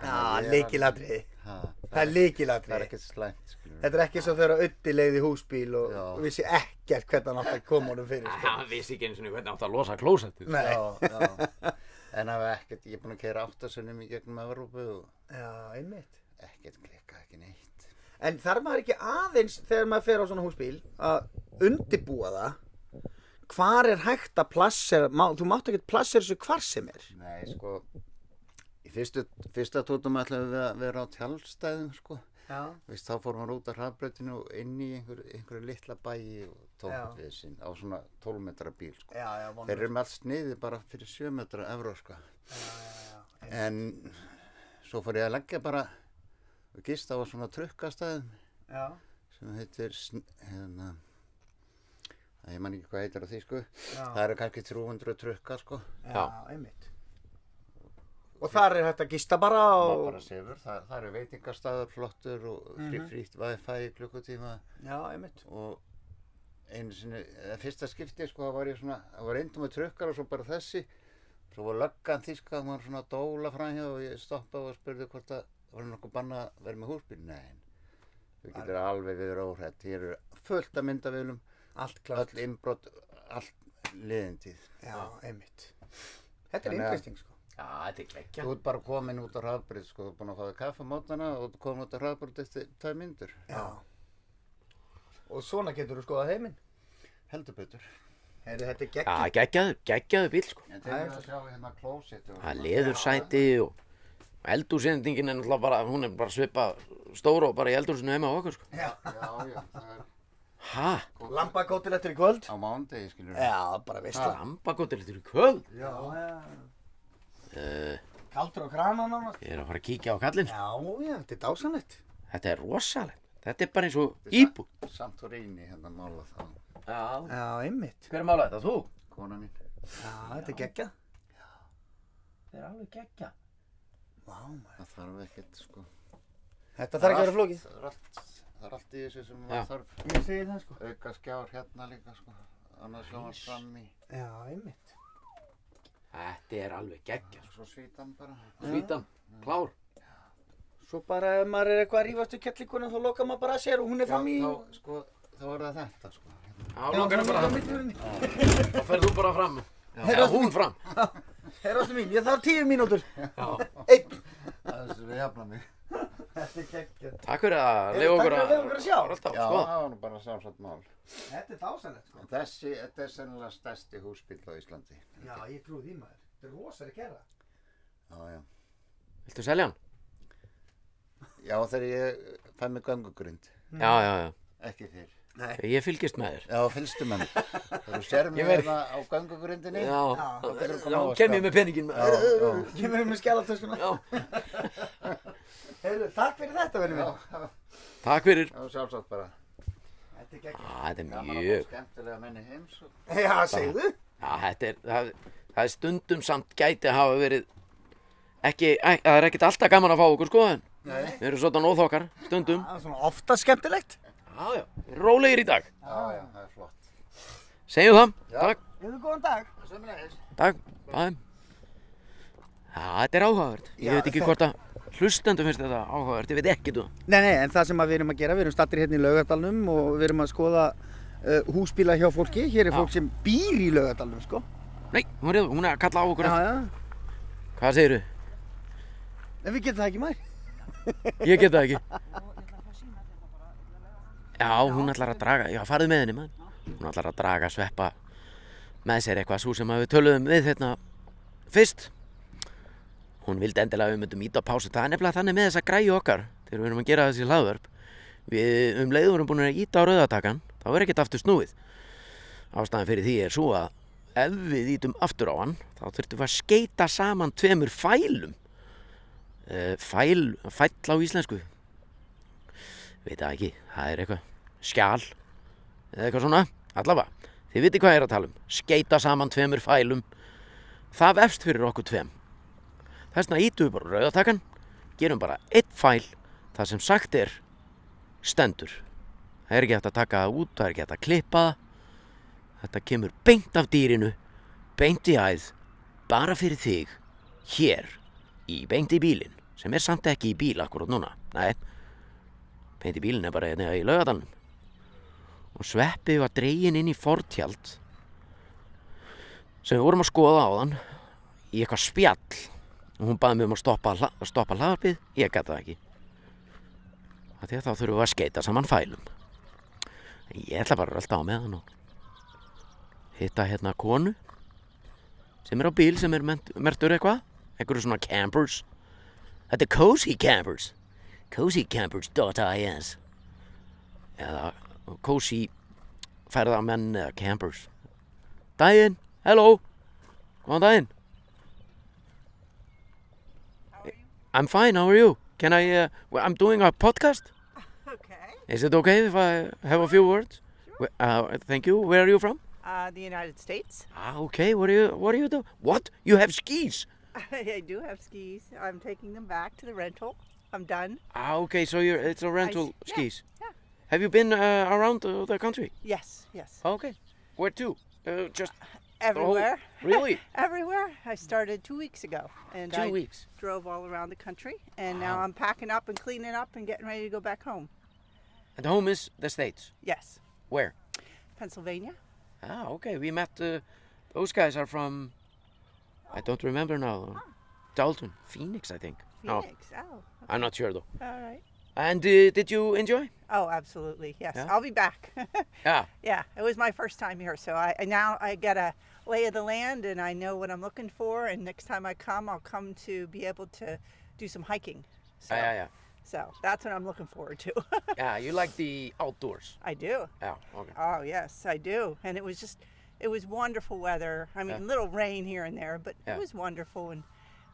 A: Já, líkilatriði.
F: Ha,
A: Það er
F: Það er
A: líkilatriði.
F: ekkert slæmt, skiljum.
A: Þetta er ekki svo þegar Ötti leiði húsbíl og
F: Já.
A: og vissi ekkert hvernig hann átt að koma honum fyrir. Sko.
B: Hann vissi ekki eins og hvernig átt að losa klósettið.
A: Nei.
F: Já, já. En það var ekkert, ég er búin að keira áttasunum í gegnum Evrópu og
A: Já, einmitt.
F: ekkert klikka, ekki neitt.
A: En þarf maður ekki aðeins þegar maður fer á svona húsbíl að undibúa það hvar er hægt að plassera, má, þú mátt ekki plassera þessu hvar sem er.
F: Nei, sko, í fyrstu, fyrsta tótum ætlaðum við að vera á tjálstæðum, sko.
A: Já.
F: Vist, þá fór maður út af hraðbreytinu og inn í einhver, einhverju litla bæi og
A: Já.
F: tók við sinn á svona 12 metra bíl, sko.
A: Já, já,
F: Þeir eru með allt sniði bara fyrir 7 metra evró, sko. En svo fór ég að leggja bara og gista á svona trukkastæðum
A: Já.
F: sem heitir, sn- hérna, að ég man ekki hvað heitir á því, sko.
A: Já.
F: Það eru kannski 300 trukka, sko.
A: Já, einmitt. Og þar er hægt að gista bara
F: maður
A: og...
F: bara sefur, það, það eru veitingastæðar flottur og frí, frítt wifi í klukkutíma
A: Já, einmitt.
F: og einu sinni, eða fyrsta skipti sko, það var ég svona, það var reyndum með trukkar og svo bara þessi, svo var löggan þýska og maður svona að dóla framhjá og ég stoppaði og spurði hvort að var nokkuð banna að vera með húsbíl, nei þú getur alveg viður óhrætt hér eru fullt að myndavélum
A: Allt klart.
F: öll innbrot, allt liðindíð
A: Já, einmitt. Þetta er
F: Þannig að-
A: interesting, sko.
B: Já, þetta er geggja.
F: þú ert bara komin út á hraðbryt sko, þú ert búin að fáið kaffa mótana og þú ert komin út á hraðbryt eftir tvær myndur
A: Já. Og svona getur þú skoðað heiminn.
F: heldur betur
A: Heyrðu, þetta er
B: Já,
A: gegn.
B: geggjaður, geggjaður bíl sko.
F: En þeir eru að sjá hérna klósetu
B: Það er leðursæti og eldúsendingin er náttúrulega bara, hún er bara svipa stóra og bara í eldúsinu heima á okkur sko.
F: Já, já, það er
B: Hæ?
A: Lambakótil eftir í kvöld.
F: á mándegi skilur
A: Já, bara veistla.
B: Lambakotir litur í kvöld?
A: Já. Kaldur á kranan ánast. Eh.
B: Ég er að fara að kíkja á kallinn sko.
A: Já, já, þetta er dásanlegt.
B: Þetta er rosalegt. Þetta er bara eins og íbú.
F: Santorini hérna mála þá,
B: Já.
A: Já, einmitt.
B: Hver mála þetta? Þú?
F: kona mín.
A: Já, þetta er geggjað.
B: Það er alveg geggja.
A: Vá, maður.
F: Það þarf ekkert sko.
A: Þetta þarf ekki að vera
F: allt-
A: flókið.
F: Það er allt, það er allt í þessu sem
B: Já.
F: maður þarf.
A: Ég segi það, sko.
F: Auka skjár hérna líka sko. Annars sjónar fram í.
A: Já, einmitt.
B: Þetta er alveg geggja.
F: Svo svítan bara.
B: Svítan, klár.
A: Svo bara ef maður er eitthvað að rífast við kettlinguna þá lokar maður bara að sér og hún er
F: Já,
A: fram í...
F: þá, sko, þá er það þetta, sko.
B: Já, langar það bara hann.
A: það.
B: Þá ferð þú bara fram.
A: Herra,
B: Já, hún fram.
A: Herrastu mín, ég þarf tíu mínútur.
B: Já.
A: Einn.
F: Það er sem við jafna mig.
A: Þetta er geggjað.
B: Takk fyrir að
A: Heyrðu,
B: leiða okkur
A: takk fyrir að
B: að...
A: leyfa okkur að sjá.
B: Alltaf,
F: Já,
B: sko.
F: það var nú bara sjálfsagt mál.
A: Þetta er dásanlegt, sko.
F: En þessi, þetta er sennilega stærsti húsbíll á Íslandi.
A: Já, ég trúi því maður. Þetta er rosalega gerða.
F: Já, já.
B: Viltu selja hann?
F: Já, þegar ég fæ mig gangugrind.
B: Já, já, já.
F: Ekki fyrr.
B: Ég fylgist með þér.
F: Já, fylgstu menn. Þegar þú sér
B: Ég
F: mig
B: verð-
F: hérna á gangugrindinni.
B: Já.
F: Þá getur þú
B: Já,
F: komið á að
B: kem ég með peningin.
F: Já, já.
A: Ég verður með skjálatöskuna.
B: Já.
A: Heyrðu, takk fyrir þetta, verður minn.
B: Takk fyrir.
F: Já, sjálfsagt bara.
A: Þetta er geggjað.
B: Á, Þetta er
F: Gaman að fá
B: mjög...
F: skemmtilega menni heims. og-
A: Já, segðu.
B: Já, þetta er... Það, það er stundum samt gæti hafa verið... Ekki... ek- Það er ekkert alltaf gaman að fá okkur, sko, en...
F: Nei.
B: Við erum svona óþokkar, stundum.
A: Það er svona ofta skemmtilegt.
B: Já, já. Rólegir í dag.
F: Já, já, það er flott.
B: Segjum það.
F: Já.
B: Takk,
A: Hefur góðan dag.
F: Sömulegis.
B: takk. Bæðum. Já, þetta er áhugavert. Ég
A: Já,
B: veit ekki
A: þetta-
B: hvort að hlustendu finnst þetta áhugavert. Ég veit ekki þú.
A: Nei, nei, en það sem að við erum að gera, við erum stattir hérna í Laugardalnum og við erum að skoða uh, húsbíla hjá fólki. Hér er
B: Já.
A: fólk sem býr í Laugardalnum, sko.
B: Nei, hún er, hún er að kalla á okkur.
A: Já, já.
B: Hvað segirðu?
A: En við getum það ekki mær.
B: Ég get það ekki. Já, hún ætlar að draga, já farðu með henni mann. Hún ætlar að draga sveppa með sér eitthvað svo sem að við töluðum við hérna fyrst. Hún vildi endilega að við myndum íta á pásu. Það er nefnilega þannig með þessa græju okkar þegar við erum að gera þessi hlaðvörp. Við um leiður erum búin að íta á rauðatakan, þá er ekkert aftur snúið. Ástæðan fyrir því er svo að ef við ítum aftur á hann, þá þurftum við að skeita saman tveimur fælum uh, fæl, fæll á íslensku veit það ekki, það er eitthvað skjál eða eitthvað svona, allavega þið viti hvað ég er að tala um, skeita saman tveimur fælum það vefst fyrir okkur tveim þess vegna ítum við bara rauðatakan gerum bara einn fæl það sem sagt er stendur það er ekki hægt að taka það út, það er ekki hægt að klippa það þetta kemur beint af dýrinu beint í æð bara fyrir þig, hér í beint í bílinn, sem er samt ekki í bíl akkurat núna, nei beint í bílinn er bara hérna í laugadalnum og sveppi var dregin inn í fortjald sem við vorum að skoða á þann í eitthvað spjall og hún baði mig um að stoppa, hla- að stoppa hlaðarpið, ég gæti það ekki af því að þá þurfum við að skeita saman fælum en ég ætla bara að rölda á með hann og hitta hérna konu sem er á bíl sem er ment- mertur eitthvað einhverju svona campers þetta er cozy campers cozycampers.is eða uh, cozy ferðamenn eða campers daginn, hello góðan daginn I'm fine, how are you? Can I, uh, well, I'm doing a podcast
G: Okay.
B: Is it okay if I have a few words? Wh- Uh, thank you, where are you from?
G: Uh, the United States.
B: Ah, okay, what do you, what do you do? What? You have skis?
G: I do have skis. I'm taking them back to the rental. I'm done.
B: Ah, okay, so you're, it's a rental
G: yeah,
B: skis.
G: yeah.
B: Have you been uh, around uh, the country?
G: Yes, yes.
B: Okay. Where to? Uh, just the whole-
G: Everywhere.
B: Really?
G: Everywhere. I started two weeks ago, and
B: Two
G: I
B: weeks.
G: drove all around the country. And now
B: Wow.
G: I'm packing up and cleaning up and getting ready to go back home.
B: And home is the States.
G: Yes,
B: Where?
G: Pennsylvania.
B: Ah, okay. We met. Uh, those guys are from. I don't remember now. Dalton, Phoenix, I think. No,
G: Ah. Phoenix. Oh,
B: I'm not sure though.
G: all right.
B: And uh, did you enjoy? Ah,
G: Oh, absolutely. Yes,
B: Yeah?
G: I'll be back.
B: Yeah.
G: yeah, it was my first time here, so I I now I get a lay of the land and I know what I'm looking for. And next time I come, I'll come to be able to do some hiking. So,
B: ah, Yeah, yeah,
G: So that's what I'm looking forward to.
B: yeah. Yeah, you like the outdoors.
G: I do.
B: Yeah. Okay.
G: Oh yes, I do. And it was just, it was wonderful weather. I mean, little rain here and there, but
B: Yeah.
G: it was wonderful. And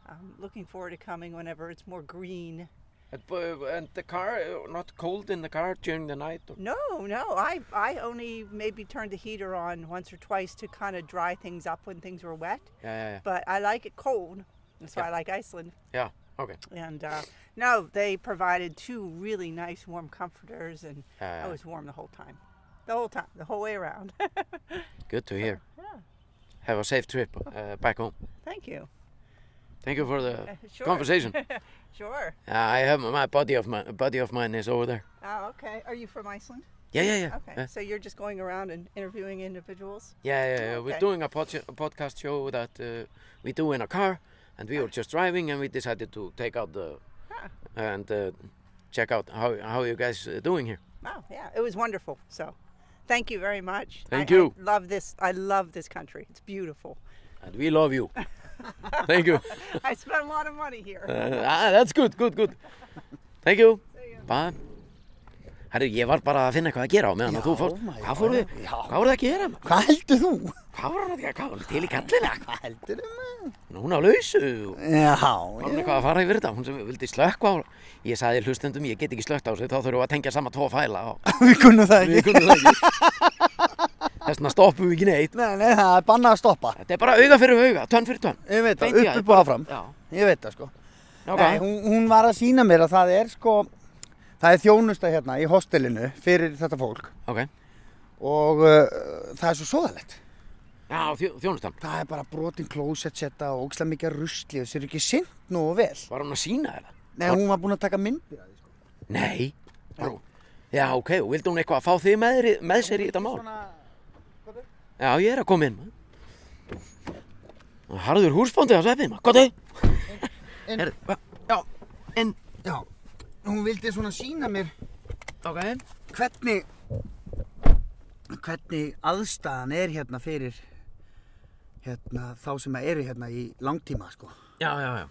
G: I'm looking forward to coming whenever it's more green.
B: And, bu- and the car, uh, not cold in the car during the night? Or,
G: No, no. I, I only maybe turned the heater on once or twice to kind of dry things up when things were wet.
B: yeah, yeah, yeah.
G: But I like it cold. That's why I like Iceland.
B: Yeah, okay.
G: And uh, no, they provided two really nice warm comforters, and
B: Ah.
G: I was warm the whole time. The whole time, the whole way around.
B: Good to hear. Have a safe trip uh, back home.
G: Thank you.
B: Thank you for the
G: sure.
B: conversation. uh,
G: Sure.
B: I have my buddy of mine. Buddy of mine is over there.
G: Oh, okay. Are you from Iceland?
B: Yeah, yeah, yeah.
G: Okay.
B: Uh,
G: So you're just going around and interviewing individuals?
B: yeah, yeah, yeah. We're
G: Okay.
B: doing a, pod- a podcast show that uh, we do in a car, and we were just driving, and we decided to take out the
G: Ah.
B: and uh, check out how how you guys uh, doing here.
G: Wow. Yeah. It was wonderful. So thank you very much. I-
B: Thank
G: I
B: you.
G: love this. I love this country. It's beautiful.
B: And we love you. Thank you.
G: I spent a lot of money here.
B: Uh, ah, that's good, good, good. Thank you. Bye. Herru, ég var bara að finna eitthvað að gera á meðan að þú fórst.
A: maður.
B: Hvað fóruð þið? Hvað voruð þið að gera? maður?
A: Hvað heldur þú?
B: Hvað voruð þið að gera? Hvað voruð til í kallina?
A: Hvað heldur um þú maður?
B: Núna á lausu.
A: Já,
B: Hún er
A: já.
B: eitthvað að fara yfir þetta. Hún sem vildi slökka á. Ég sagði hlustendum, ég get ekki slökkt á þessu. Þá þurfum við að tengja sama tvo fæla. Og...
A: Við kunnum það
B: Við
A: ekki.
B: kunnum það ekki. Þess vegna stoppum við ekki neitt.
A: Nei, nei, það er bannað að stoppa.
B: Þetta er bara auga fyrir auga, tönn fyrir tönn.
A: Ég veit það,
B: Beint í
A: upp
B: æð,
A: upp og áfram.
B: Já.
A: Ég veit það sko. Nei,
B: Okay.
A: hún, hún var að sína mér að það er sko, það er þjónusta hérna í hostelinu fyrir þetta fólk
B: ok.
A: og uh, það er svo svoðalegt.
B: Já, þjó, þjónustan.
A: Það er bara brotin klósett setta og ógslag mikið rusli og sér ekki sinnt nú og vel.
B: Var hún að sína þetta?
A: Nei, hún var búin að taka myndir af því sko.
B: Nei. Bara- Já, ok, og vildi hún eitthvað að fá þig með, þér í- með sér í þetta mál? Já, ég er að koma inn, maður. Og Harður húsbóndið á sveppið, maður. Gottu!
A: inn.
B: Herðu, hva? Já, inn.
A: Já, hún vildi svona sína mér
B: Ok.
A: hvernig, hvernig aðstæðan er hérna fyrir hérna, þá sem eru hérna í langtíma sko.
B: Já, já, já.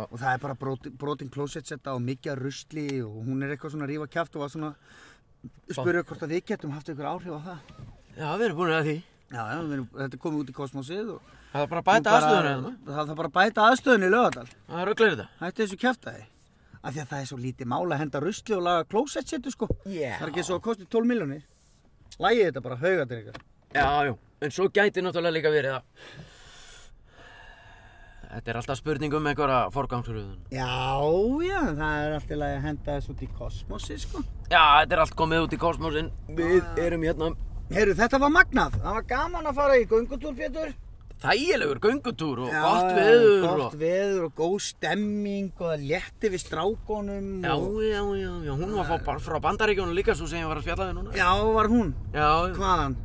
A: og það er bara brotin, brotin klósetsetta og mikið af rusli og hún er eitthvað svona að rífa kjátt og var svona spurðu hvort að við getum haft einhver áhrif á það
B: Já, við erum búin að því.
A: já, já, við erum, þetta er komið út í kosmosið og
B: Það er bara að bæta aðstöðuna hérna.
A: það það þarf bara að bæta aðstöðunni í lögadal
B: Það er auðvitað þetta.
A: hætti þessu kjáttaði af því að það er svo lítið mála að henda rusli og laga klósetsetu sko
B: Já.
A: það er ekki svo að kosti 12 miljónir lægið þetta bara haugatir ykkur
B: Já, já. En svo gæti náttúrulega líka verið að... Þetta er alltaf spurning um einhverja forgangsröðun.
A: já, já, það er alltaf að henda þessu út í kosmosið sko
B: Já, þetta er allt komið út í kosmosin. Við erum hérna
A: Heyrðu, þetta var magnað, það var gaman að fara í göngutúr, Pétur
B: þægilegur göngutúr og
A: Já,
B: gott
A: já,
B: veður og...
A: gott veður og góð stemming og það létti við strákonum
B: Já,
A: og...
B: já, já, já, hún var frá, frá bandaríkjónu líka svo sem ég var að spjalla við núna.
A: já, var hún,
B: Já, já,
A: hvaðan?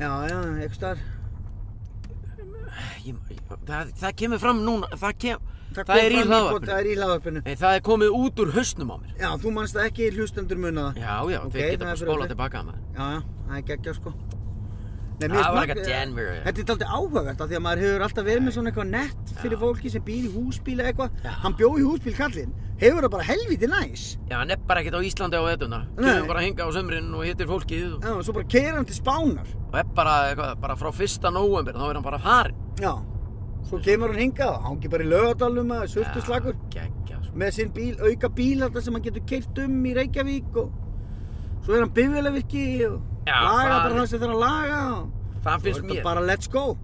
A: Já, já, einhvers staðar.
B: ég, ég, það, það kemur fram núna, það kem, það,
A: kom
B: er í
A: fram hvort-
B: hlaðvarpinu.
A: Það er í hlaðvarpinu.
B: Nei, það er komið út úr hausnum á mér.
A: Já, þú manst það ekki hlustendur muna það.
B: Já, já,
A: Ok,
B: þeir geta
A: það er
B: bara
A: fyrir
B: spólað
A: þig.
B: tilbaka að maður.
A: Já, já, það er geggjað sko. Nei, mér
B: Það
A: finnst
B: var
A: magn-
B: eitthvað Denver.
A: Þetta er dálítið áhugavert af því að maður hefur alltaf verið með svona eitthvað nett fyrir fólki sem býr í húsbíl eða eitthvað.
B: Já.
A: Hann bjó í húsbíl kallinn. Hefur það bara helviti næs.
B: Já, hann er bara ekkert á Íslandi á vettuna.
A: Nei.
B: Kemur bara að hinga á sömrin og hittir fólkið og,
A: Já, og svo bara keira hann til spánar.
B: og er bara, eitthvað, bara frá fyrsta nóvember, þá er hann bara farin.
A: Já. Svo kemur hann hingað, hangi bara í lögadalum að surtu slagur.
B: Gekkja, sko.
A: Með sinn bíl, auka bíl alltaf sem hann getur keirt um í Reykjavík og svo er hann bifjölavirki og
B: Já,
A: laga
B: það-
A: bara það sem þarf að laga og
B: Það
A: svo er
B: finnst
A: þetta
B: mér.
A: bara let's go.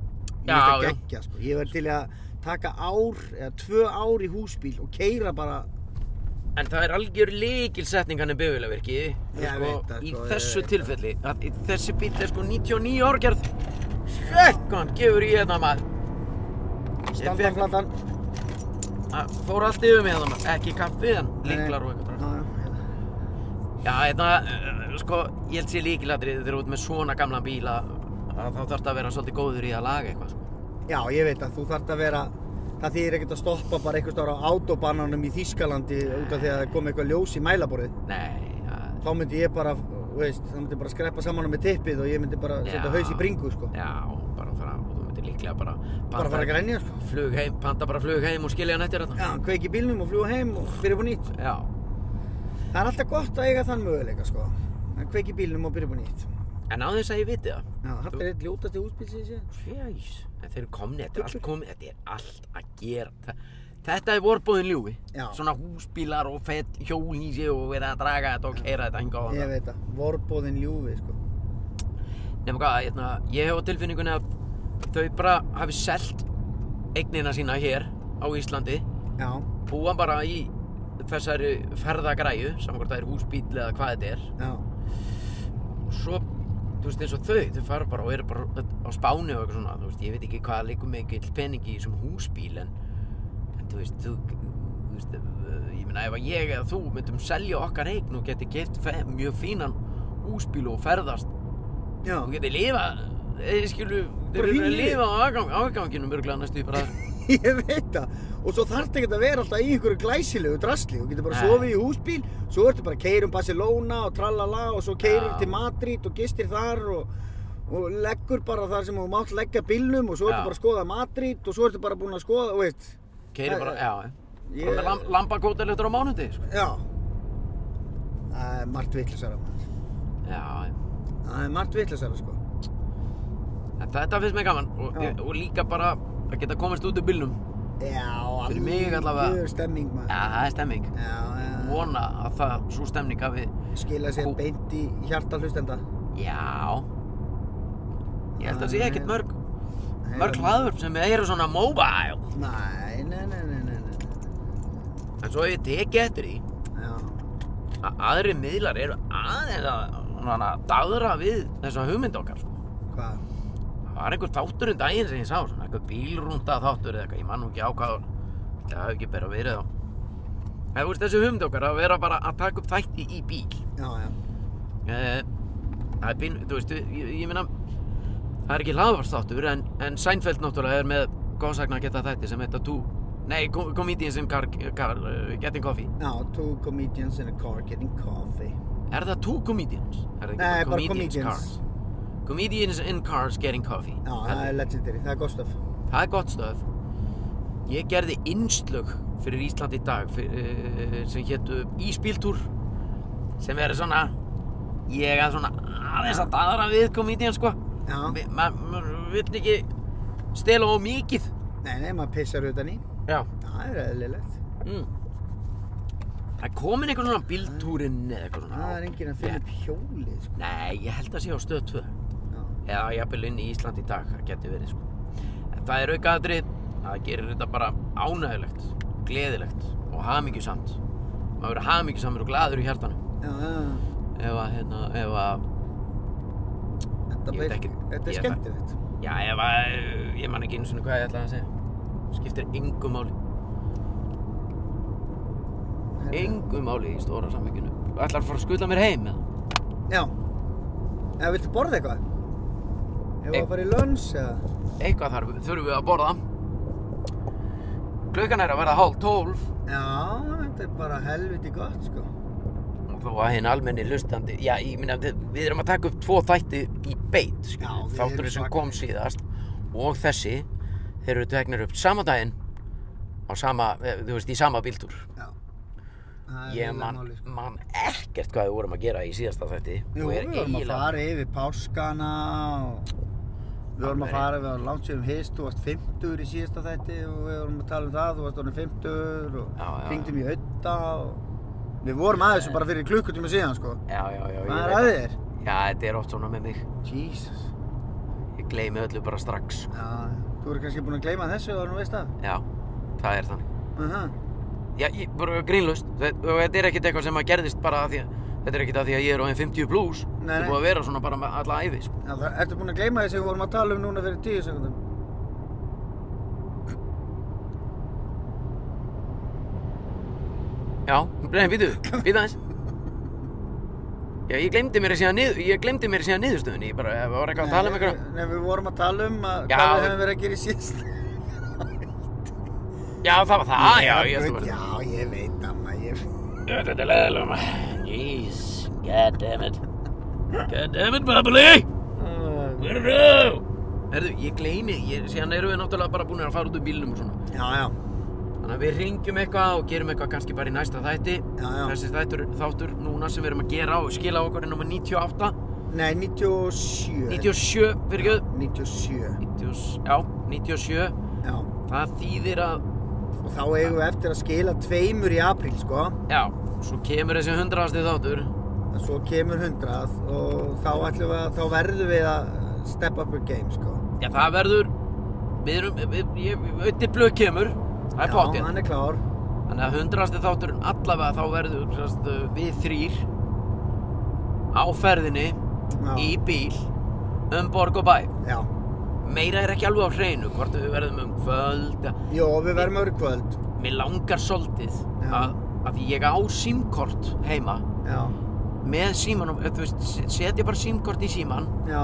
B: Já,
A: Mér finnst
B: já.
A: það geggja, sko. Ég verð til í að taka ár eða tvö ár í húsbíl og keira bara
B: En það er algjör líkilsetningan í bifilaverki
A: Ég
B: sko,
A: veit það,
B: Í
A: sko, ég
B: þessu
A: veit það.
B: tilfelli að, í, Þessi bíl er sko 99 árgerð Svekkan gefur í hérna maður Ég fékk-
A: standarflatan.
B: að Fór allt yfir mig hérna maður Ekki kaffið en líklar og eitthvað
A: Já, já, já.
B: Já, hérna, eh, sko, ég held sér líkilatrið Þegar þú ert með svona gamlan bíl að, að þá þarfst að vera svolítið góður í að laga eitthvað sko.
A: Já, ég veit að þú þarft að vera það þýðir ekkert að stoppa bara einhvers staðar á autobananum í Þýskalandi út af því að það kom eitthvað ljós í mælaborðið
B: Nei, já,
A: þá myndi ég bara, þú veist, þá myndi ég bara skreppa saman með tippið og ég myndi bara setja
B: Já.
A: haus í bringu, sko.
B: já, bara þar að Þú myndir líklega bara
A: Bara fara að grænja, sko.
B: Flug heim, panta bara flug heim og skilja hann eftir
A: Já,
B: þetta
A: kveiki í bílnum og fljúa heim og byrja upp á nýtt.
B: Já,
A: Það er alltaf gott að eiga þann möguleika, sko. Að kveiki í bílnum og byrja upp á nýtt.
B: en á þess að ég viti það
A: Já, þetta er eitt ljótasti útbíl sem ég sé.
B: Jæs, en þeir eru komni, þetta er allt komið, þetta er allt að gera. Þa, Þetta er vorbúðin ljúfi.
A: Já.
B: Svona húsbílar og fett hjólhýsi og verið að draga þetta og keira þetta hingað og
A: Ég
B: hana.
A: veit það, vorbóðin ljúfi sko.
B: Nefnum hvað, hérna, ég hef á tilfinningunni að þau bara hafi selt eignina sína hér á Íslandi,
A: Já,
B: búa bara í þessari ferðagræju, saman hvort það er húsbíl eða hvað þetta er.
A: já,
B: Og svo, þú veist, eins og þau, þau fara bara og eru bara á spáni og eitthvað svona, þú veist, ég veit ekki hvað líkum mikill pening í þessum húsbíl, en, en þú veist, þú, þú veist, eh, ég meina, ef að ég eða þú myndum selja okkar eign og geti gett mjög fínan húsbíl og ferðast,
A: já,
B: þú geti lifa, eða skilu, þeir
A: Bara
B: eru
A: fínu
B: að
A: lífi.
B: lifa á afgang, afganginum örgulega næstu í bara,
A: ég veit það og svo þarf ekki að vera alltaf í einhverju glæsilegu drasli þú getur bara
B: Nei.
A: sofið í húsbíl svo ertu bara að keyra um Barcelona og tralala og svo keyrir
B: Já.
A: til Madrid og gistir þar og, og leggur bara þar sem þú mátt leggja bílnum og
B: Já.
A: svo ertu bara að skoða Madrid og svo ertu bara búin að skoða, þú veist
B: keiri bara, já,
A: Ég-
B: bara með lamb, lambakótelektur á mánundi, sko.
A: já það er margt vitlisara maður
B: Já, já.
A: það er margt vitlisara sko
B: En Þetta finnst mér gaman og,
A: Já.
B: og líka bara að geta komast út úr bílnum.
A: já,
B: Fyrir mig
A: alveg
B: allavega.
A: stemming maður
B: Já, það er stemming.
A: já, já,
B: Vona að það, svo stemning hafi,
A: skila sér
B: Kú-
A: beint í hjarta hlustenda
B: já. Ég held að sé ekkert mörg,
A: Nei,
B: mörg hlaðvörp sem eru svona mobile.
A: nei, nei, nei, nei, nei, nei.
B: En svo hef ég tekið eftir því
A: Já,
B: að aðri miðlar eru aðeins að svona, daðra við þessa hugmynd okkar. Sko.
A: hvað?
B: Það var einhver þáttur um daginn sem ég sá, svona einhver bílrúnda þáttur eða eitthvað, ég man nú ekki á hvað það var. Það hafi ekki bara verið á. Það voru þessi hugmynd okkar að vera bara að taka upp þætti í bíl.
A: Já, já,
B: Eh, Það er bín, þú veistu, ég, ég meina, það er ekki hlaðvarsþáttur en, en Seinfeld náttúrulega er með góðsagna að geta þætti sem heita tú, nei, kom- Comedians in car, car, uh, Getting Coffee.
A: já, two comedians in a car getting coffee.
B: Er það Two Comedians? Er það ekki
A: Nei, bara
B: Cars?
A: comedians.
B: Comedians in Cars Getting Coffee.
A: Já, það er legendary, það er gott stöf.
B: það er gott stöð. Ég gerði innslög fyrir Ísland í dag fyrir, eh, sem héttu Ísbíltúr sem er svona, ég er svona aðeins að daðra við Comedians sko.
A: Já,
B: Vi- ma- maður vill ekki stela á mikið
A: nei, nei, maður pissar utan í.
B: já
A: Það er eðlilegt.
B: mm. það er komin eitthvað svona bíltúrin eða eitthvað svona
A: Það er enginn að finna upp hjólið, sko.
B: nei, ég held að sé á stöð 2
A: Já,
B: eða jafnvel inn í Ísland í dag það geti verið sko en það er aukaðadri það gerir þetta bara ánægilegt gleðilegt og hamingjusamt maður verður hamingjusamur og gladur í hjartanum
A: já, já,
B: ef að hérna, ef að
A: þetta,
B: Ég veit
A: ber,
B: ekki- ég
A: þetta er
B: er það-
A: skemmtilegt.
B: Já, ef að, ég man ekki einu sinni hvað ég ætlaði að segja. Skiptir engu máli.
A: Eh,
B: Engu máli í stóra samvikinu. Ætlar að fara að skutla mér heim eða?
A: Já, eða viltu borða eitthvað? Ef
B: Ey.
A: að fara í lönns, eða?
B: Eitthvað þarf, þurfum við að borða. Klukkan er að verða hálf tólf
A: Já, þetta er bara helviti gott, sko.
B: og þó að hinn almenni hlustandi, já, ég minna, við, við erum að taka upp tvo þætti í beit,
A: Já,
B: skiljum,
A: við erum
B: þátturinn sem
A: svakalegir.
B: kom síðast og þessi, þeir eru teknir upp sama daginn á sama, eh, þú veist, í sama bíltúr.
A: Já. Það er
B: Ég
A: eiginlega
B: man,
A: málið, sko.
B: man ekkert hvað við vorum að gera í síðasta þætti
A: Jú,
B: og
A: við
B: er
A: vorum að
B: eiginlega
A: fara yfir páskana og við vorum að
B: Alveg
A: fara, við varum langt sér um hist, þú varst 50 í síðasta þætti og við vorum að tala um það, þú varst orðin 50
B: Já,
A: og
B: já,
A: hringdum í ötta og við vorum aðeins og bara fyrir klukkutíma síðan sko.
B: Já, já, já, ég veit
A: Hvað er að
B: það.
A: þér?
B: Já, þetta er oft svona með mig
A: Jesus.
B: Ég gleymi öllu bara strax
A: Já, þú eru kannski búin að gleyma þessu og nú veist það.
B: Já, það er þannig
A: Uh
B: Já, ég, bara grínlust Þetta og þetta er ekkert eitthvað sem að gerðist bara að því að Þetta er ekkert að því að ég er á einn 50 plus Þetta
A: Nei,
B: er
A: nei.
B: búið að vera svona bara með alla æfi sko.
A: Já, það, ertu búin að gleyma þessu við vorum að tala um núna fyrir 10 sekundum?
B: Já, nei, býtu, býtu aðeins Já, ég gleymdi mér síðan niður, ég gleymdi mér síðan niðurstöðunni Ég bara, það var eitthvað að tala um eitthvað
A: Nei, við vorum að tala um að
B: Já,
A: hvað við
B: við-
A: hefum verið að gera í síðasta.
B: Já, það var það, já, ég ætla að
A: Já, ég veit það, maður, ég...
B: Þetta er leðilega maður. Jeez, god damn it. God damn it, Bubbly! Where are you? Herðu, ég gleymi, ég, síðan erum við náttúrulega bara búin að fara út úr bílnum og svona.
A: Já, já,
B: Þannig að við ringjum eitthvað og gerum eitthvað kannski bara í næsta þætti.
A: já, já.
B: Þessi þættur, þáttur núna sem við erum að gera og skila á okkur er nummer 98,
A: Nei, 97.
B: 97, fyrir göð.
A: 97.
B: 90, já, 97.
A: Já,
B: Það þýðir að
A: og þá eigum við eftir að skila tveimur í apríl sko
B: Já, svo kemur þessi hundraðasti þáttur.
A: en svo kemur hundrað og þá, ætlum við að, þá verðum við að step up our game sko
B: Já, það verður, við erum, við, ég, auðvitað blöð kemur, það er
A: Já,
B: pottinn.
A: hann er klár
B: Þannig að hundraðasti þátturinn allavega þá verður sérst, við þrýr á ferðinni
A: Já.
B: í bíl um borg og bæ.
A: Já,
B: Meira er ekki alveg á hreinu hvort við verðum um kvöld.
A: Jó, við verðum að vera í kvöld
B: Mér langar svolítið
A: Já.
B: að, að því ég á símkort heima
A: Já,
B: með símanum, eh, þú veist, se- setja bara símkort í síman
A: já,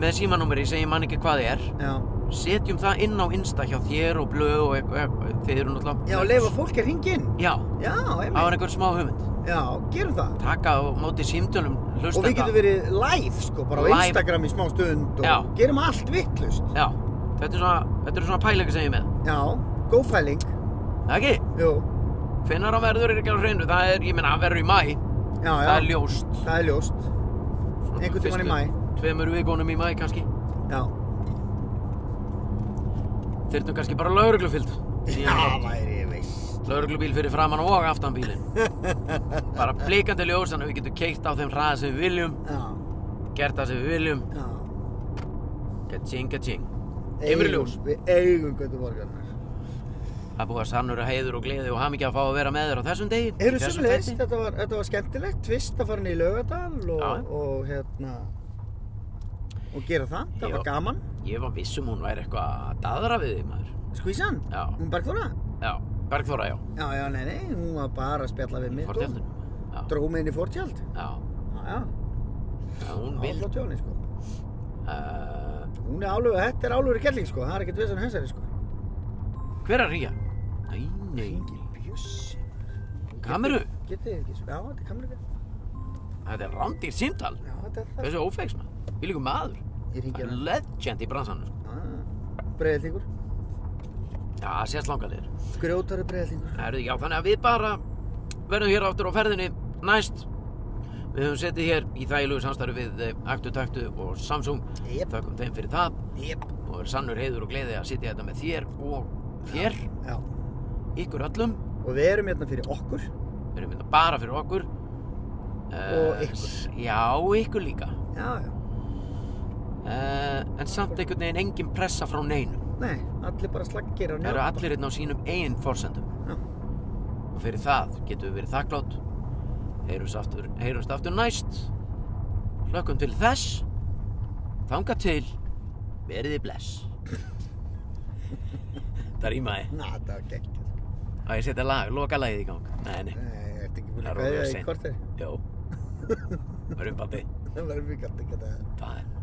B: með símanúmeri sem ég man ekki hvað er
A: já
B: setjum það inn á Insta hjá þér og blöð og eitthvað, eh, þið eru náttúrulega
A: Já, leifa fólk að ringja inn
B: Já,
A: Já,
B: það var
A: einmitt
B: einhver smá hugmynd
A: Já, gerum það
B: taka á móti símtölum hlustenda
A: Og við getum verið live sko, bara á
B: Live.
A: Instagram í smá stund og
B: Já.
A: gerum allt vittlust
B: Já, þetta er svona, þetta er svona pælingar sem ég er með
A: Já, góðfæling,
B: Það ekki,
A: jú,
B: hvenær hann verður er ekki á hreinu það er, ég meina, hann verður í mæ
A: já, já
B: það er ljóst
A: Það er ljóst,
B: Svona
A: Einhvern tímann í
B: fyrstu
A: maí.
B: Tveimur vikunum í mæ kannski
A: já
B: Þyrtum kannski bara lauruglufylg
A: Já, væri veist
B: Lauruglubíl fyrir framann og aftan bílinn Bara blikandi ljós þannig að við getum keitt á þeim hraða sem við viljum
A: Já,
B: gert það sem við viljum
A: já
B: Ka-ching, ka-ching Kemur í
A: Eigum-
B: ljós
A: Við eigum Götuborgarnar
B: Það er búið að sannur að heiður og gleði og hamingja að fá að vera með þér á þessum degi í
A: Eru
B: þessum
A: sömulegis,
B: þætti.
A: þetta var, þetta var skemmtilegt, tvist að fara inn í Laugardal og,
B: Já.
A: og hérna og gera það, það
B: Já.
A: var gaman
B: Ég var viss um hún væri eitthvað að daðra við þig maður
A: Skvísan,
B: Já.
A: hún Bergþóra
B: Já, Bergþóra, já
A: Já, já, nei, nei, hún var bara að spjalla við mig
B: Fór
A: sko.
B: tjöldun Já,
A: Dró mig inn í fórtjald
B: já
A: Já, já,
B: Já, Hún
A: það
B: vil
A: var flott hjá henni sko
B: uh,
A: Hún er álöfu, þetta er álöfu kelling sko, það er ekkert vissan hensari sko
B: Hver er að ríja? Nei, nei
A: Engin bjössi
B: Kameru
A: Getið þið ekki, já, þetta er kameru
B: Þetta er rándýr símtal
A: Já, þetta er það
B: Þessu ófeigs maður Við líkum maður
A: Ég
B: Það er
A: ringi hérna
B: legend í bransanum sko.
A: Ah. Breiðlingur,
B: Já, það sést langalegir
A: grjótari breiðlingur
B: Það eru já, þannig að við bara verðum hér áttur á ferðinni næst. Við höfum setið hér í þægilegu samstarfi við eh, Aktu Taktu og Samsung.
A: Jep.
B: Þakkum þeim fyrir það
A: Jep
B: og er sannur heiður og gleði að sitja þetta með þér og þér,
A: Já,
B: ykkur öllum.
A: og við erum hérna fyrir okkur
B: Við erum þetta bara fyrir okkur.
A: Og
B: Eh,
A: ykkur.
B: s- Já, ykkur líka.
A: Já, já,
B: Uh, en samt einhvern veginn engin pressa frá neinum.
A: nei, allir bara slaggir og
B: Það eru
A: njóta
B: allir hérna á sínum eigin forsendum.
A: Já.
B: Og fyrir það getum við verið þakklátt. Heyrumst aftur, heyrumst aftur næst. Hlökkum til þess. Þanga til. Veriði bless. það rýmaði.
A: Na, það var gegn
B: Á ég að setja lag, loka lagið í gang. Nei, nei.
A: Nei, ég ert ekki búin
B: Það er
A: að kveðja
B: ólega
A: í
B: seint.
A: kortir
B: Jó. Verðum pabbi.
A: Það verður mjög gætt ekki að
B: Það er.